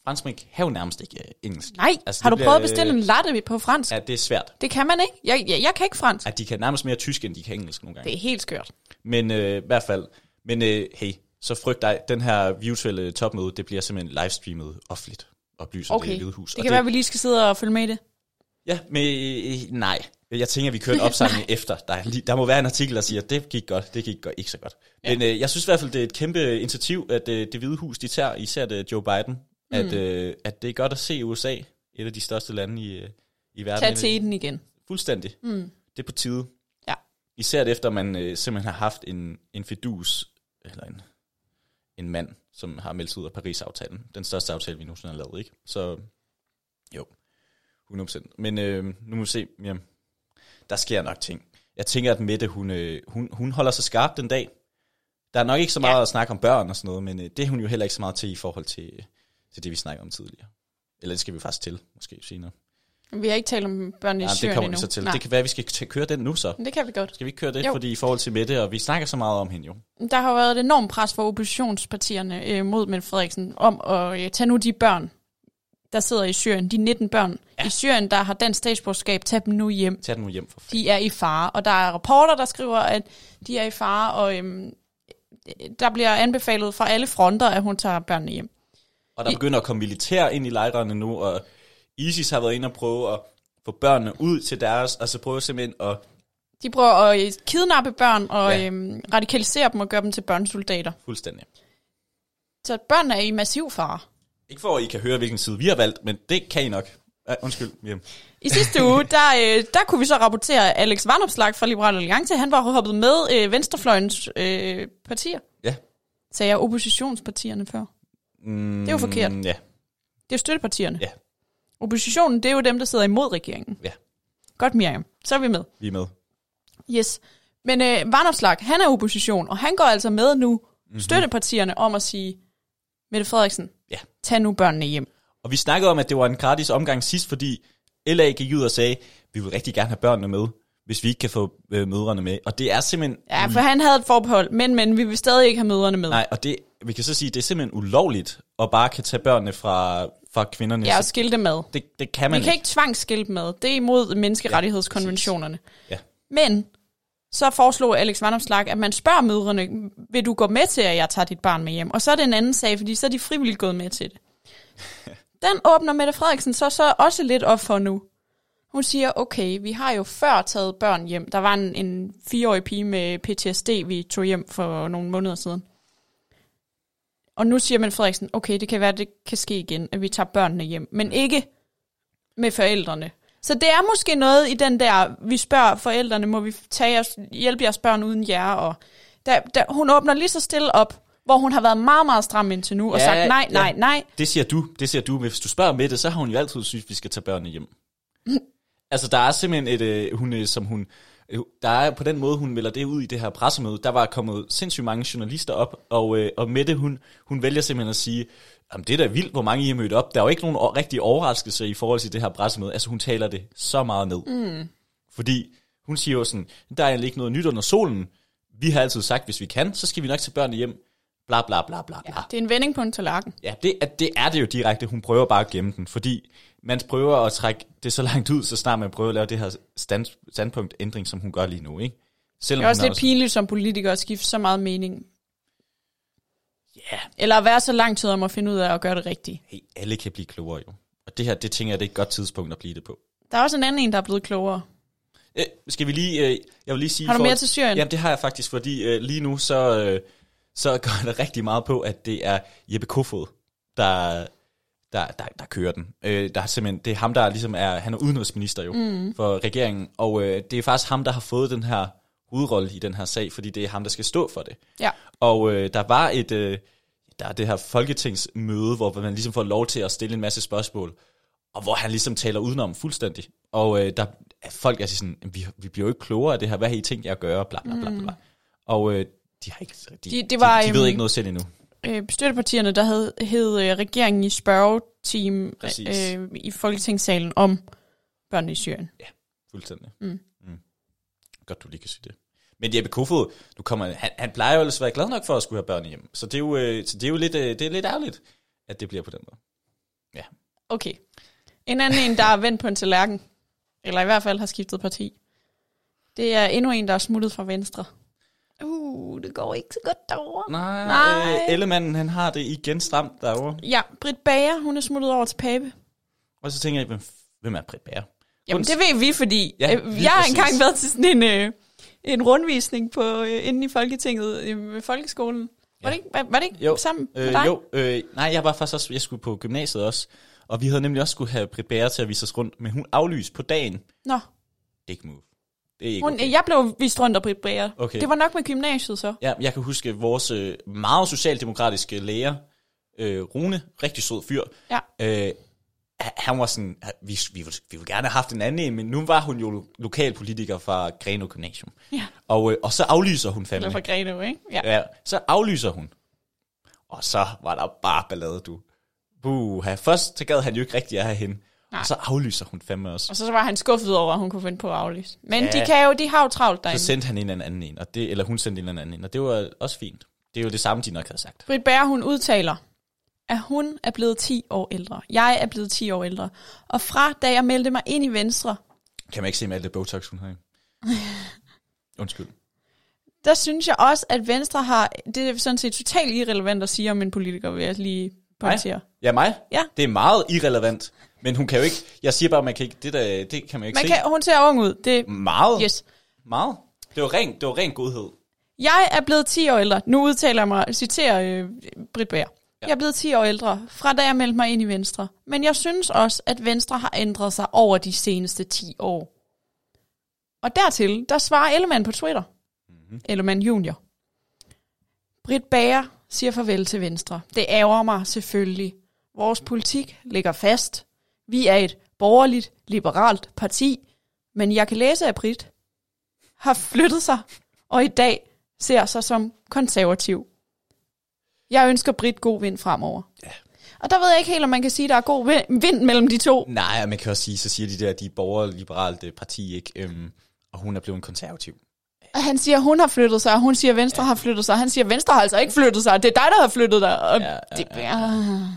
[SPEAKER 1] franskmænd kan jo nærmest ikke øh, engelsk.
[SPEAKER 2] Nej,
[SPEAKER 1] Altså,
[SPEAKER 2] altså, har
[SPEAKER 1] det
[SPEAKER 2] du
[SPEAKER 1] bliver-
[SPEAKER 2] prøvet at bestille en latte på fransk? Ja.
[SPEAKER 1] Ja, det er svært.
[SPEAKER 2] Det kan man ikke. Jeg, jeg, jeg kan ikke fransk.
[SPEAKER 1] At de kan nærmest mere tysk, end de kan engelsk nogle gange.
[SPEAKER 2] Det er helt skørt.
[SPEAKER 1] Men øh, i hvert fald, men øh, hey, så frygt dig, den her virtuelle topmøde, det bliver simpelthen livestreamet offentligt, oplyser det
[SPEAKER 2] Okay,
[SPEAKER 1] i Hvide Hus.
[SPEAKER 2] det
[SPEAKER 1] Og
[SPEAKER 2] kan være, at vi lige skal sidde og følge med i det.
[SPEAKER 1] Ja, men øh, nej. Jeg tænker, vi kører en opsamling efter. Der, er lige- der må være en artikel, der siger, at det gik godt, det gik godt, ikke så godt. Ja. Men øh, jeg synes i hvert fald, det er et kæmpe initiativ, at øh, det hvide hus, de tager, især det Joe Biden, at, øh, at det er godt at se USA, et af de største lande i, øh, i verden.
[SPEAKER 2] Tag til den igen.
[SPEAKER 1] Fuldstændig. Mm. Det er på tide.
[SPEAKER 2] Ja.
[SPEAKER 1] Især efter, man øh, simpelthen har haft en, en fidus, eller en, en mand, som har meldt sig ud af Paris-aftalen. Den største aftale, vi nogensinde har lavet, ikke? Så jo, 100%. Men øh, nu må vi se, jamen, der sker nok ting. Jeg tænker, at Mette, hun, øh, hun, hun holder sig skarp den dag. Der er nok ikke så meget ja. at snakke om børn og sådan noget, men øh, det er hun jo heller ikke så meget til i forhold til, øh, til det, vi snakker om tidligere. Eller det skal vi faktisk til, måske senere.
[SPEAKER 2] Vi har ikke talt om børnene i
[SPEAKER 1] Nej, det
[SPEAKER 2] Syrien
[SPEAKER 1] kommer vi
[SPEAKER 2] endnu.
[SPEAKER 1] så til.
[SPEAKER 2] Nej.
[SPEAKER 1] Det kan være, at vi skal t- køre den nu så.
[SPEAKER 2] Men det kan vi godt.
[SPEAKER 1] Skal vi ikke køre det? Jo.
[SPEAKER 2] Jo.
[SPEAKER 1] Fordi i forhold til Mette, og vi snakker så meget om hende jo.
[SPEAKER 2] Der har jo været et enormt pres fra oppositionspartierne øh, mod Mette Frederiksen om at øh, tage nu de børn, der sidder i Syrien, de 19 børn ja. i Syrien, der har dansk statsborgerskab, tag dem nu hjem.
[SPEAKER 1] Tag den nu hjem for fanden.
[SPEAKER 2] de er i fare. Og der er rapporter, der skriver, at de er i fare, og øhm, der bliver anbefalet fra alle fronter, at hun tager børnene hjem.
[SPEAKER 1] Og der begynder at komme militær ind i lejrene nu, og ISIS har været inde og prøve at få børnene ud til deres, og så prøve simpelthen at...
[SPEAKER 2] De prøver at øh, kidnappe børn og
[SPEAKER 1] Ja.
[SPEAKER 2] ja. øhm, radikalisere dem og gøre dem til børnesoldater.
[SPEAKER 1] Fuldstændig.
[SPEAKER 2] Så børnene er i massiv fare.
[SPEAKER 1] Ikke for, at I kan høre, hvilken side vi har valgt, men det kan I nok. Uh, undskyld, Miriam.
[SPEAKER 2] I sidste uge, der, øh, der kunne vi så rapportere, at Alex Varnopslag fra Liberal Alliance, han var hoppet med øh, venstrefløjens øh, partier.
[SPEAKER 1] Ja.
[SPEAKER 2] Sagde jeg oppositionspartierne før.
[SPEAKER 1] Mm, det
[SPEAKER 2] er jo forkert.
[SPEAKER 1] Ja,
[SPEAKER 2] Det er jo støttepartierne.
[SPEAKER 1] Ja.
[SPEAKER 2] Oppositionen, det er jo dem, der sidder imod regeringen.
[SPEAKER 1] Ja.
[SPEAKER 2] Godt, Miriam. Så er vi med.
[SPEAKER 1] vi er med.
[SPEAKER 2] Yes. Men øh, Varnopslag, han er opposition, og han går altså med nu
[SPEAKER 1] Mhm.
[SPEAKER 2] mm-hmm. støttepartierne om at sige, Mette Frederiksen,
[SPEAKER 1] Ja.
[SPEAKER 2] tag nu børnene hjem.
[SPEAKER 1] Og vi snakkede om, at det var en gratis omgang sidst, fordi LA gik ud og sagde, vi vil rigtig gerne have børnene med. hvis vi ikke kan få øh, mødrene med. Og det er simpelthen...
[SPEAKER 2] Ja, for han havde et forbehold, men, men vi vil stadig ikke have møderne med.
[SPEAKER 1] Mhm. Nej, og det, vi kan så sige, det er simpelthen ulovligt at bare kan tage børnene fra, fra kvinderne.
[SPEAKER 2] Ja, og
[SPEAKER 1] Så
[SPEAKER 2] skille dem med.
[SPEAKER 1] det, det kan man
[SPEAKER 2] Vi kan ikke tvangsskille dem med. Det er imod menneskerettighedskonventionerne.
[SPEAKER 1] Ja.
[SPEAKER 2] Men så foreslog Alex Vandomslag, at man spørger mødrene, vil du gå med til, at jeg tager dit barn med hjem? Og så er det en anden sag, fordi så er de frivilligt gået med til det. Den åbner Mette Frederiksen så, så også lidt op for nu. Hun siger, okay, vi har jo før taget børn hjem. Der var en, en fireårig pige med PTSD, vi tog hjem for nogle måneder siden. Og nu siger Mette Frederiksen, okay, det kan være, det kan ske igen, at vi tager børnene hjem. Men ikke med forældrene. Så det er måske noget i den der, vi spørger forældrene, må vi tage jeres, hjælpe jeres børn uden jer? Og der, der, hun åbner lige så stille op, hvor hun har været meget, meget stram indtil nu, ja, og
[SPEAKER 1] Ja,
[SPEAKER 2] sagt nej,
[SPEAKER 1] ja.
[SPEAKER 2] nej, nej.
[SPEAKER 1] Det siger du, det siger du. Men Hvis du spørger Mette, så har hun jo altid synes, vi skal tage børnene hjem. altså, der er simpelthen et, øh, hun, øh, som hun... øh, Der er på den måde, hun melder det ud i det her pressemøde. Der var kommet sindssygt mange journalister op, og, øh, og Mette, hun, hun vælger simpelthen at sige, Jamen, det er da vildt, hvor mange I har mødt op. Der er jo ikke nogen o- rigtig overraskelse i forhold til det her pressemøde. Altså, hun taler det så meget ned. Mm. Fordi hun siger jo sådan, der er egentlig ikke noget nyt under solen. Vi har altid sagt, hvis vi kan, så skal vi nok tage børnene hjem. Bla, bla, bla, bla, bla.
[SPEAKER 2] Det er en vending på en tallerken.
[SPEAKER 1] Ja, det, er- det er det jo direkte. Hun prøver bare at gemme den, fordi man prøver at trække det så langt ud, så snart man prøver at lave det her stand, standpunktændring, som hun gør lige nu, ikke? Selvom
[SPEAKER 2] Det er også
[SPEAKER 1] hun
[SPEAKER 2] lidt pinligt som politiker at skifte så meget mening. Ja. Yeah. Eller at være så lang tid om at finde ud af at gøre det rigtige.
[SPEAKER 1] Hey, alle kan blive klogere jo. Og det her, det tænker jeg, det er et godt tidspunkt at blive det på.
[SPEAKER 2] Der er også en anden en, der er blevet klogere.
[SPEAKER 1] Øh, skal vi lige... Øh, jeg vil lige sige...
[SPEAKER 2] Har du
[SPEAKER 1] for-
[SPEAKER 2] mere til Syrien?
[SPEAKER 1] Jamen, det har jeg faktisk, fordi øh, lige nu, så, øh, så går det rigtig meget på, at det er Jeppe Kofod, der, der, der, der kører den. Øh, der er simpelthen, det er ham, der ligesom er... Han er udenrigsminister jo mm. for regeringen, og øh, det er faktisk ham, der har fået den her hovedrolle i den her sag, fordi det er ham, der skal stå for det.
[SPEAKER 2] Ja.
[SPEAKER 1] Og øh, der var et, øh, der er det her folketingsmøde, hvor man ligesom får lov til at stille en masse spørgsmål, og hvor han ligesom taler udenom fuldstændig. Og øh, der er folk, der siger sådan, vi, vi bliver jo ikke klogere af det her, hvad har I tænkt jer at gøre, bla bla bla. bla. Og øh, de, har ikke, de,
[SPEAKER 2] Mm. De-
[SPEAKER 1] de,
[SPEAKER 2] det
[SPEAKER 1] de,
[SPEAKER 2] var,
[SPEAKER 1] de, de ved
[SPEAKER 2] øhm,
[SPEAKER 1] ikke noget selv endnu.
[SPEAKER 2] øh, støttepartierne, der hed, hed øh, regeringen i spørgeteam
[SPEAKER 1] Præcis.
[SPEAKER 2] øh, i Folketingssalen om børnene i Syrien.
[SPEAKER 1] Fuldstændig.
[SPEAKER 2] Mm.
[SPEAKER 1] Mm. Godt, du lige kan sige det. Men Jeppe Kofod, nu kommer, han, han plejer jo ellers at være glad nok for at skulle have børn hjem. Så det er jo, øh, så det er jo lidt, øh, det er lidt ærgerligt, at det bliver på den måde.
[SPEAKER 2] Okay. En anden en, der er vendt på en tallerken, eller i hvert fald har skiftet parti, det er endnu en, der er smuttet fra Venstre. Uh, det går ikke så godt derovre.
[SPEAKER 1] Nej,
[SPEAKER 2] Nej.
[SPEAKER 1] Øh, Ellemann, han har det igen stramt derovre.
[SPEAKER 2] Ja, Britt Bager, hun er smuttet over til Pape.
[SPEAKER 1] Og så tænker jeg, hvem, f- hvem er Britt Bager?
[SPEAKER 2] Jamen,
[SPEAKER 1] Unds-
[SPEAKER 2] det ved vi, fordi
[SPEAKER 1] Ja,
[SPEAKER 2] ja,
[SPEAKER 1] lige
[SPEAKER 2] øh, jeg har
[SPEAKER 1] præcis.
[SPEAKER 2] engang været til sådan en, øh, en rundvisning på øh, inde i Folketinget øh, med folkeskolen. Var,
[SPEAKER 1] Ja.
[SPEAKER 2] det ikke, var, var det ikke
[SPEAKER 1] Jo,
[SPEAKER 2] sammen med
[SPEAKER 1] Øh,
[SPEAKER 2] dig?
[SPEAKER 1] jo, øh, nej, jeg var faktisk også, jeg skulle på gymnasiet også, og vi havde nemlig også skulle have Britt Bager til at vise os rundt, men hun aflyste på dagen. Det
[SPEAKER 2] Nå,
[SPEAKER 1] er ikke move. Det er ikke
[SPEAKER 2] Hun,
[SPEAKER 1] okay.
[SPEAKER 2] okay. Jeg blev vist rundt af Britt Bager.
[SPEAKER 1] Okay.
[SPEAKER 2] Det var nok med gymnasiet så.
[SPEAKER 1] Ja, jeg kan huske vores øh, meget socialdemokratiske lærer, øh, Rune, rigtig sød fyr.
[SPEAKER 2] Ja.
[SPEAKER 1] Øh, han- han var sådan, han- vi, vi, ville- vi ville gerne have haft en anden en, men nu var hun jo lo- lokalpolitiker fra Greno Gymnasium.
[SPEAKER 2] Ja.
[SPEAKER 1] Og, øh, og så aflyser hun
[SPEAKER 2] Eller
[SPEAKER 1] fandme.
[SPEAKER 2] fra Greno, ikke? Ja.
[SPEAKER 1] Ja, så aflyser hun. Og så var der bare ballade, du. Buha. Først så gad han jo ikke rigtig at have hende.
[SPEAKER 2] Nej.
[SPEAKER 1] Og så aflyser hun fandme også.
[SPEAKER 2] Og så var han skuffet over, at hun kunne finde på at aflyse. Men
[SPEAKER 1] Ja.
[SPEAKER 2] ja. de, kan jo, de har jo travlt derinde.
[SPEAKER 1] Så sendte han en eller anden en, og det, eller hun sendte en eller anden en, og det var også fint. Det er jo det samme, de nok havde sagt.
[SPEAKER 2] Britt Bager, hun udtaler, at hun er blevet 10 år ældre. Jeg er blevet 10 år ældre. Og fra da jeg meldte mig ind i Venstre,
[SPEAKER 1] Kan man ikke se med alt det Botox, hun har i? Undskyld.
[SPEAKER 2] der synes jeg også, at Venstre har... Det er sådan set totalt irrelevant at sige om en politiker, vil jeg lige pointere.
[SPEAKER 1] Ja, mig?
[SPEAKER 2] Ja.
[SPEAKER 1] Det er meget irrelevant. Men hun kan jo ikke... Jeg siger bare, man kan ikke... Det, der, det kan man jo ikke
[SPEAKER 2] Man
[SPEAKER 1] se. Mm.
[SPEAKER 2] kan, hun ser ung ud. Det,
[SPEAKER 1] Meget.
[SPEAKER 2] yes.
[SPEAKER 1] Meget. Det var ren, det var ren godhed.
[SPEAKER 2] Jeg er blevet 10 år ældre. Nu udtaler jeg mig, citerer øh, Britt Bager. Ja. Jeg er blevet 10 år ældre, fra da jeg meldte mig ind i Venstre. Men jeg synes også, at Venstre har ændret sig over de seneste 10 år. Og dertil, der svarer Ellemann på Twitter. Mm-hmm. Ellemann junior. Britt Bager siger farvel til Venstre. Det ærger mig selvfølgelig. Vores politik ligger fast. Vi er et borgerligt, liberalt parti. Men jeg kan læse, at Britt har flyttet sig og i dag ser sig som konservativ. Jeg ønsker Britt god vind fremover. Ja. Og der ved jeg ikke helt, om man kan sige, at der er god vi- vind mellem de to.
[SPEAKER 1] Nej, og man kan også sige, så siger de der, at de er borgerliberalt øh, parti, ikke? Øhm, og hun er blevet en konservativ.
[SPEAKER 2] Og han siger, hun har flyttet sig, og hun siger, Venstre ja. har flyttet sig. og Han siger, Venstre har altså ikke flyttet sig, det er dig, der har flyttet dig. Og
[SPEAKER 1] Ja, ja,
[SPEAKER 2] ja, ja, det, ja.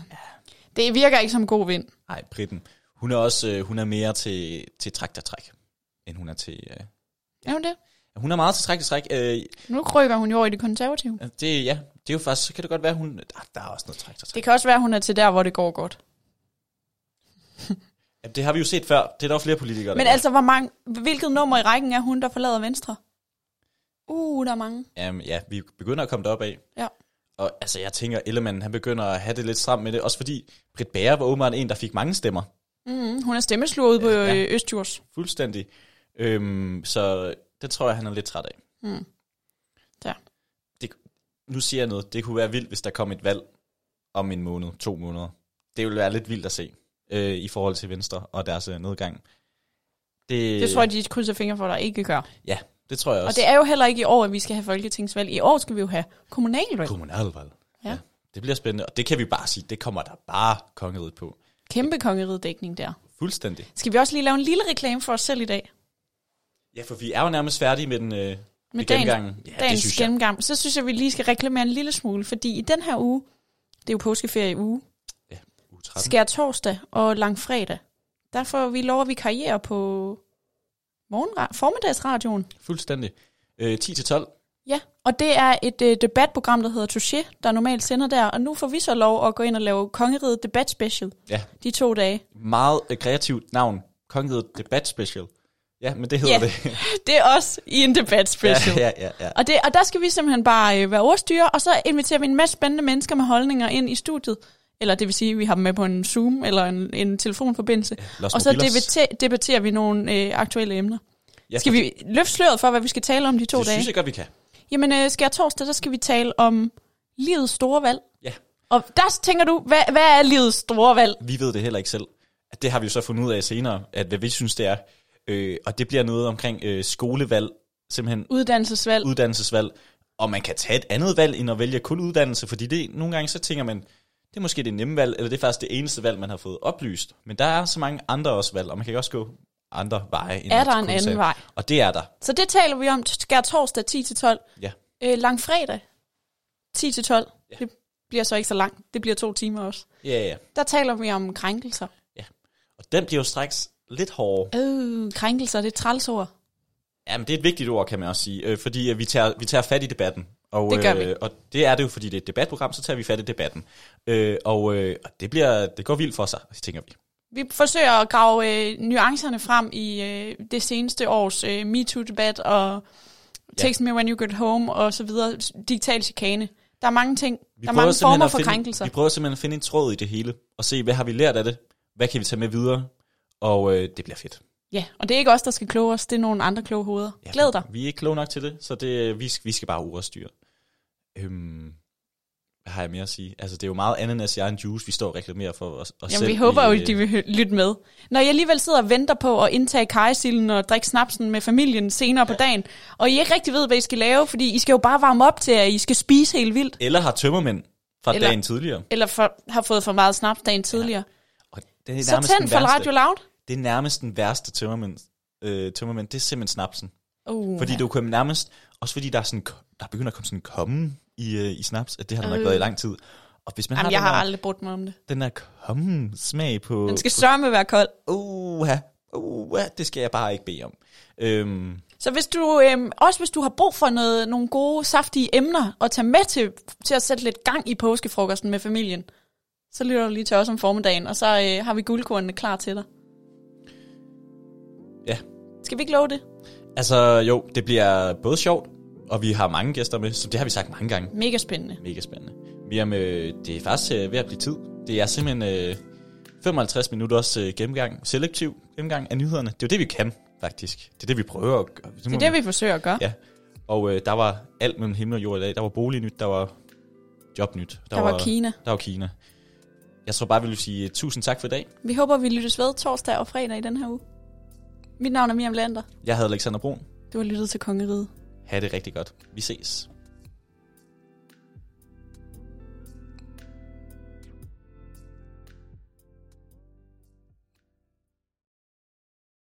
[SPEAKER 2] det virker ikke som god vind.
[SPEAKER 1] Nej, Britten. Hun er også øh, hun er mere til, til traktortræk, end hun er til... Øh,
[SPEAKER 2] Er hun det?
[SPEAKER 1] hun er meget til traktortræk. Øh,
[SPEAKER 2] Nu krykker hun jo over i det konservative.
[SPEAKER 1] det, ja, det er jo faktisk... Så kan det godt være, hun... Der, der er også noget traktortræk.
[SPEAKER 2] Det kan også være, hun er til der, hvor det går godt.
[SPEAKER 1] Ja, det har vi jo set før. Det er der jo flere politikere,
[SPEAKER 2] Men
[SPEAKER 1] der
[SPEAKER 2] altså, hvor mange, hvilket nummer i rækken er hun, der forlader Venstre? Uh, der er mange.
[SPEAKER 1] Um, ja, vi begynder at komme derop af.
[SPEAKER 2] Ja.
[SPEAKER 1] Og altså, jeg tænker, Ellemann, han begynder at have det lidt stramt med det. Også fordi Britt Bager var åbenbart en, der fik mange stemmer.
[SPEAKER 2] Mm, hun er stemmeslået ude på
[SPEAKER 1] Ja,
[SPEAKER 2] ja.
[SPEAKER 1] ja.
[SPEAKER 2] Østjurs.
[SPEAKER 1] Fuldstændig. Øhm, så det tror jeg, han er lidt træt af.
[SPEAKER 2] Mm. Ja.
[SPEAKER 1] Det, nu siger jeg noget. Det kunne være vildt, hvis der kom et valg om en måned, to måneder. Det ville være lidt vildt at se øh, i forhold til Venstre og deres øh, nedgang. Det,
[SPEAKER 2] Det tror jeg, de krydser fingre for, der ikke gør.
[SPEAKER 1] Ja, det tror jeg også.
[SPEAKER 2] Og det er jo heller ikke i år, at vi skal have folketingsvalg. I år skal vi jo have kommunalvalg.
[SPEAKER 1] Kommunalvalg.
[SPEAKER 2] Ja.
[SPEAKER 1] Det bliver spændende, og det kan vi bare sige, det kommer der bare kongeriget på.
[SPEAKER 2] Kæmpe kongeridedækning der.
[SPEAKER 1] Fuldstændig.
[SPEAKER 2] Skal vi også lige lave en lille reklame for os selv i dag?
[SPEAKER 1] Ja, for vi er jo nærmest færdige med den øh,
[SPEAKER 2] Med
[SPEAKER 1] gennemgangen. Ja, det
[SPEAKER 2] dagens
[SPEAKER 1] synes jeg.
[SPEAKER 2] gennemgang. Så synes jeg, vi lige skal reklamere en lille smule, fordi i den her uge, det er jo påskeferie i uge,
[SPEAKER 1] Uge 13.
[SPEAKER 2] skær torsdag og langfredag, der får vi lov at vikariere på morgenra- formiddagsradioen.
[SPEAKER 1] Fuldstændig. Øh, 10-12.
[SPEAKER 2] Ja, og det er et øh, debatprogram, der hedder Touché, der normalt sender der, og nu får vi så lov at gå ind og lave Kongeriget Debat Special
[SPEAKER 1] Ja,
[SPEAKER 2] de to dage.
[SPEAKER 1] meget øh, kreativt navn. Kongeriget Debat Special. Ja, men det hedder
[SPEAKER 2] Ja,
[SPEAKER 1] det.
[SPEAKER 2] Det er også i en debat special.
[SPEAKER 1] ja, ja, ja, ja.
[SPEAKER 2] Og, det, og der skal vi simpelthen bare øh, være ordstyre, og så inviterer vi en masse spændende mennesker med holdninger ind i studiet. Eller det vil sige, at vi har dem med på en Zoom eller en, en telefonforbindelse.
[SPEAKER 1] Los
[SPEAKER 2] og så
[SPEAKER 1] Mobilos.
[SPEAKER 2] debatter, debatterer vi nogle øh, aktuelle emner.
[SPEAKER 1] Ja,
[SPEAKER 2] Skal vi løfte sløret for, hvad vi skal tale om de to
[SPEAKER 1] det
[SPEAKER 2] dage?
[SPEAKER 1] synes jeg godt, vi kan.
[SPEAKER 2] Jamen, øh, skær torsdag, der skal vi tale om livets store valg.
[SPEAKER 1] Ja,
[SPEAKER 2] Og der tænker du, hvad, hvad er livets store valg?
[SPEAKER 1] vi ved det heller ikke selv. Det har vi jo så fundet ud af senere, at hvad vi synes, det er. Øh, og det bliver noget omkring øh, skolevalg, simpelthen
[SPEAKER 2] Uddannelsesvalg.
[SPEAKER 1] uddannelsesvalg, og man kan tage et andet valg, end at vælge kun uddannelse, fordi det, nogle gange så tænker man, det er måske det nemme valg, eller det er faktisk det eneste valg, man har fået oplyst. Men der er så mange andre også valg, og man kan også gå andre veje. End
[SPEAKER 2] Er
[SPEAKER 1] at
[SPEAKER 2] der en
[SPEAKER 1] kun
[SPEAKER 2] anden
[SPEAKER 1] tage-
[SPEAKER 2] vej?
[SPEAKER 1] Og det er der,
[SPEAKER 2] Så det taler vi om skær torsdag 10-12.
[SPEAKER 1] ja.
[SPEAKER 2] Øh, langfredag 10-12.
[SPEAKER 1] Ja.
[SPEAKER 2] Ja. Det bliver så ikke så langt. Det bliver to timer også.
[SPEAKER 1] Ja, ja.
[SPEAKER 2] Der taler vi om krænkelser.
[SPEAKER 1] Og den bliver jo straks lidt hårdere.
[SPEAKER 2] Øh, krænkelser, det er et trælsord.
[SPEAKER 1] Jamen, det er et vigtigt ord, kan man også sige, øh, fordi øh, vi tager, vi tager fat i debatten. Og,
[SPEAKER 2] Det gør vi.
[SPEAKER 1] Øh, og det er det jo, fordi det er et debatprogram, så tager vi fat i debatten. Øh, og øh, og det, bliver, det går vildt for sig, tænker vi.
[SPEAKER 2] Vi forsøger at grave øh, nuancerne frem i øh, det seneste års øh, MeToo-debat og Text Me When You Get Home og så videre. Digital chikane. Der er mange ting.
[SPEAKER 1] Vi
[SPEAKER 2] der er
[SPEAKER 1] prøver
[SPEAKER 2] mange
[SPEAKER 1] simpelthen
[SPEAKER 2] former
[SPEAKER 1] at
[SPEAKER 2] for
[SPEAKER 1] finde,
[SPEAKER 2] krænkelser.
[SPEAKER 1] Vi prøver simpelthen at finde en tråd i det hele, og se, hvad har vi lært af det? Hvad kan vi tage med videre? Og øh, det bliver fedt.
[SPEAKER 2] Ja, og det er ikke os, der skal kloge os. Det er nogle andre kloge hoveder. Ja, Glæd dig.
[SPEAKER 1] Vi er ikke kloge nok til det, så det, vi, skal, vi skal bare urestyre. Øhm, hvad har jeg mere at sige? Altså, det er jo meget ananas, jeg er en juice, vi står og reklamerer for os, os
[SPEAKER 2] Jamen,
[SPEAKER 1] selv.
[SPEAKER 2] vi håber jo,
[SPEAKER 1] i, øh,
[SPEAKER 2] at de vil hø- lytte med. Når jeg alligevel sidder og venter på at indtage kajsilden og drikke snapsen med familien senere på dagen, og I ikke rigtig ved, hvad I skal lave, fordi I skal jo bare varme op til, at I skal spise helt vildt,
[SPEAKER 1] Eller har tømmermænd fra
[SPEAKER 2] Eller-
[SPEAKER 1] dagen tidligere.
[SPEAKER 2] eller for, har fået for meget snaps dagen tidligere,
[SPEAKER 1] Og det er
[SPEAKER 2] ja. så tænd for Radio Loud.
[SPEAKER 1] Det er nærmest den værste tømmermænd, øh, tømmermænd. Det er simpelthen snapsen.
[SPEAKER 2] Uh,
[SPEAKER 1] Fordi du kan nærmest, også fordi der, er sådan, der begynder at komme sådan en komme i, øh, i snaps, at det har der nok
[SPEAKER 2] Øh.
[SPEAKER 1] været i lang tid. Og hvis man
[SPEAKER 2] Jamen,
[SPEAKER 1] har
[SPEAKER 2] jeg
[SPEAKER 1] den,
[SPEAKER 2] har
[SPEAKER 1] her,
[SPEAKER 2] aldrig brugt mig om det.
[SPEAKER 1] den her komme smag på...
[SPEAKER 2] Den skal sørme være kold.
[SPEAKER 1] Uha, uha, det skal jeg bare ikke bede om. Øhm,
[SPEAKER 2] Så hvis du, øhm, også hvis du har brug for noget, nogle gode, saftige emner at tage med til, til at sætte lidt gang i påskefrokosten med familien, så lytter du lige til os om formiddagen, og så øh, har vi guldkornene klar til dig.
[SPEAKER 1] ja,
[SPEAKER 2] Skal vi ikke love det?
[SPEAKER 1] altså jo, det bliver både sjovt, og vi har mange gæster med, så det har vi sagt mange gange.
[SPEAKER 2] Mega spændende.
[SPEAKER 1] Mega spændende. Vi er med, det er faktisk øh, ved at blive tid. Det er simpelthen øh, 55 minutters øh, gennemgang, selektiv gennemgang af nyhederne. Det er jo det, vi kan, faktisk. Det er det, vi prøver at gøre.
[SPEAKER 2] Det er det, vi forsøger at gøre.
[SPEAKER 1] Mm. Ja, og øh, der var alt mellem himmel og jord i dag. Der var bolignyt, der var jobnyt.
[SPEAKER 2] Der var Kina.
[SPEAKER 1] Der var Kina. Jeg tror bare, vi vil sige øh, tusind tak for i dag.
[SPEAKER 2] Vi håber, vi lyttes ved torsdag og fredag i den her uge. Mit navn er Miriam Lander.
[SPEAKER 1] Jeg hedder Alexander Brun.
[SPEAKER 2] Du har lyttet til Kongeriget.
[SPEAKER 1] Ha' det rigtig godt. Vi ses.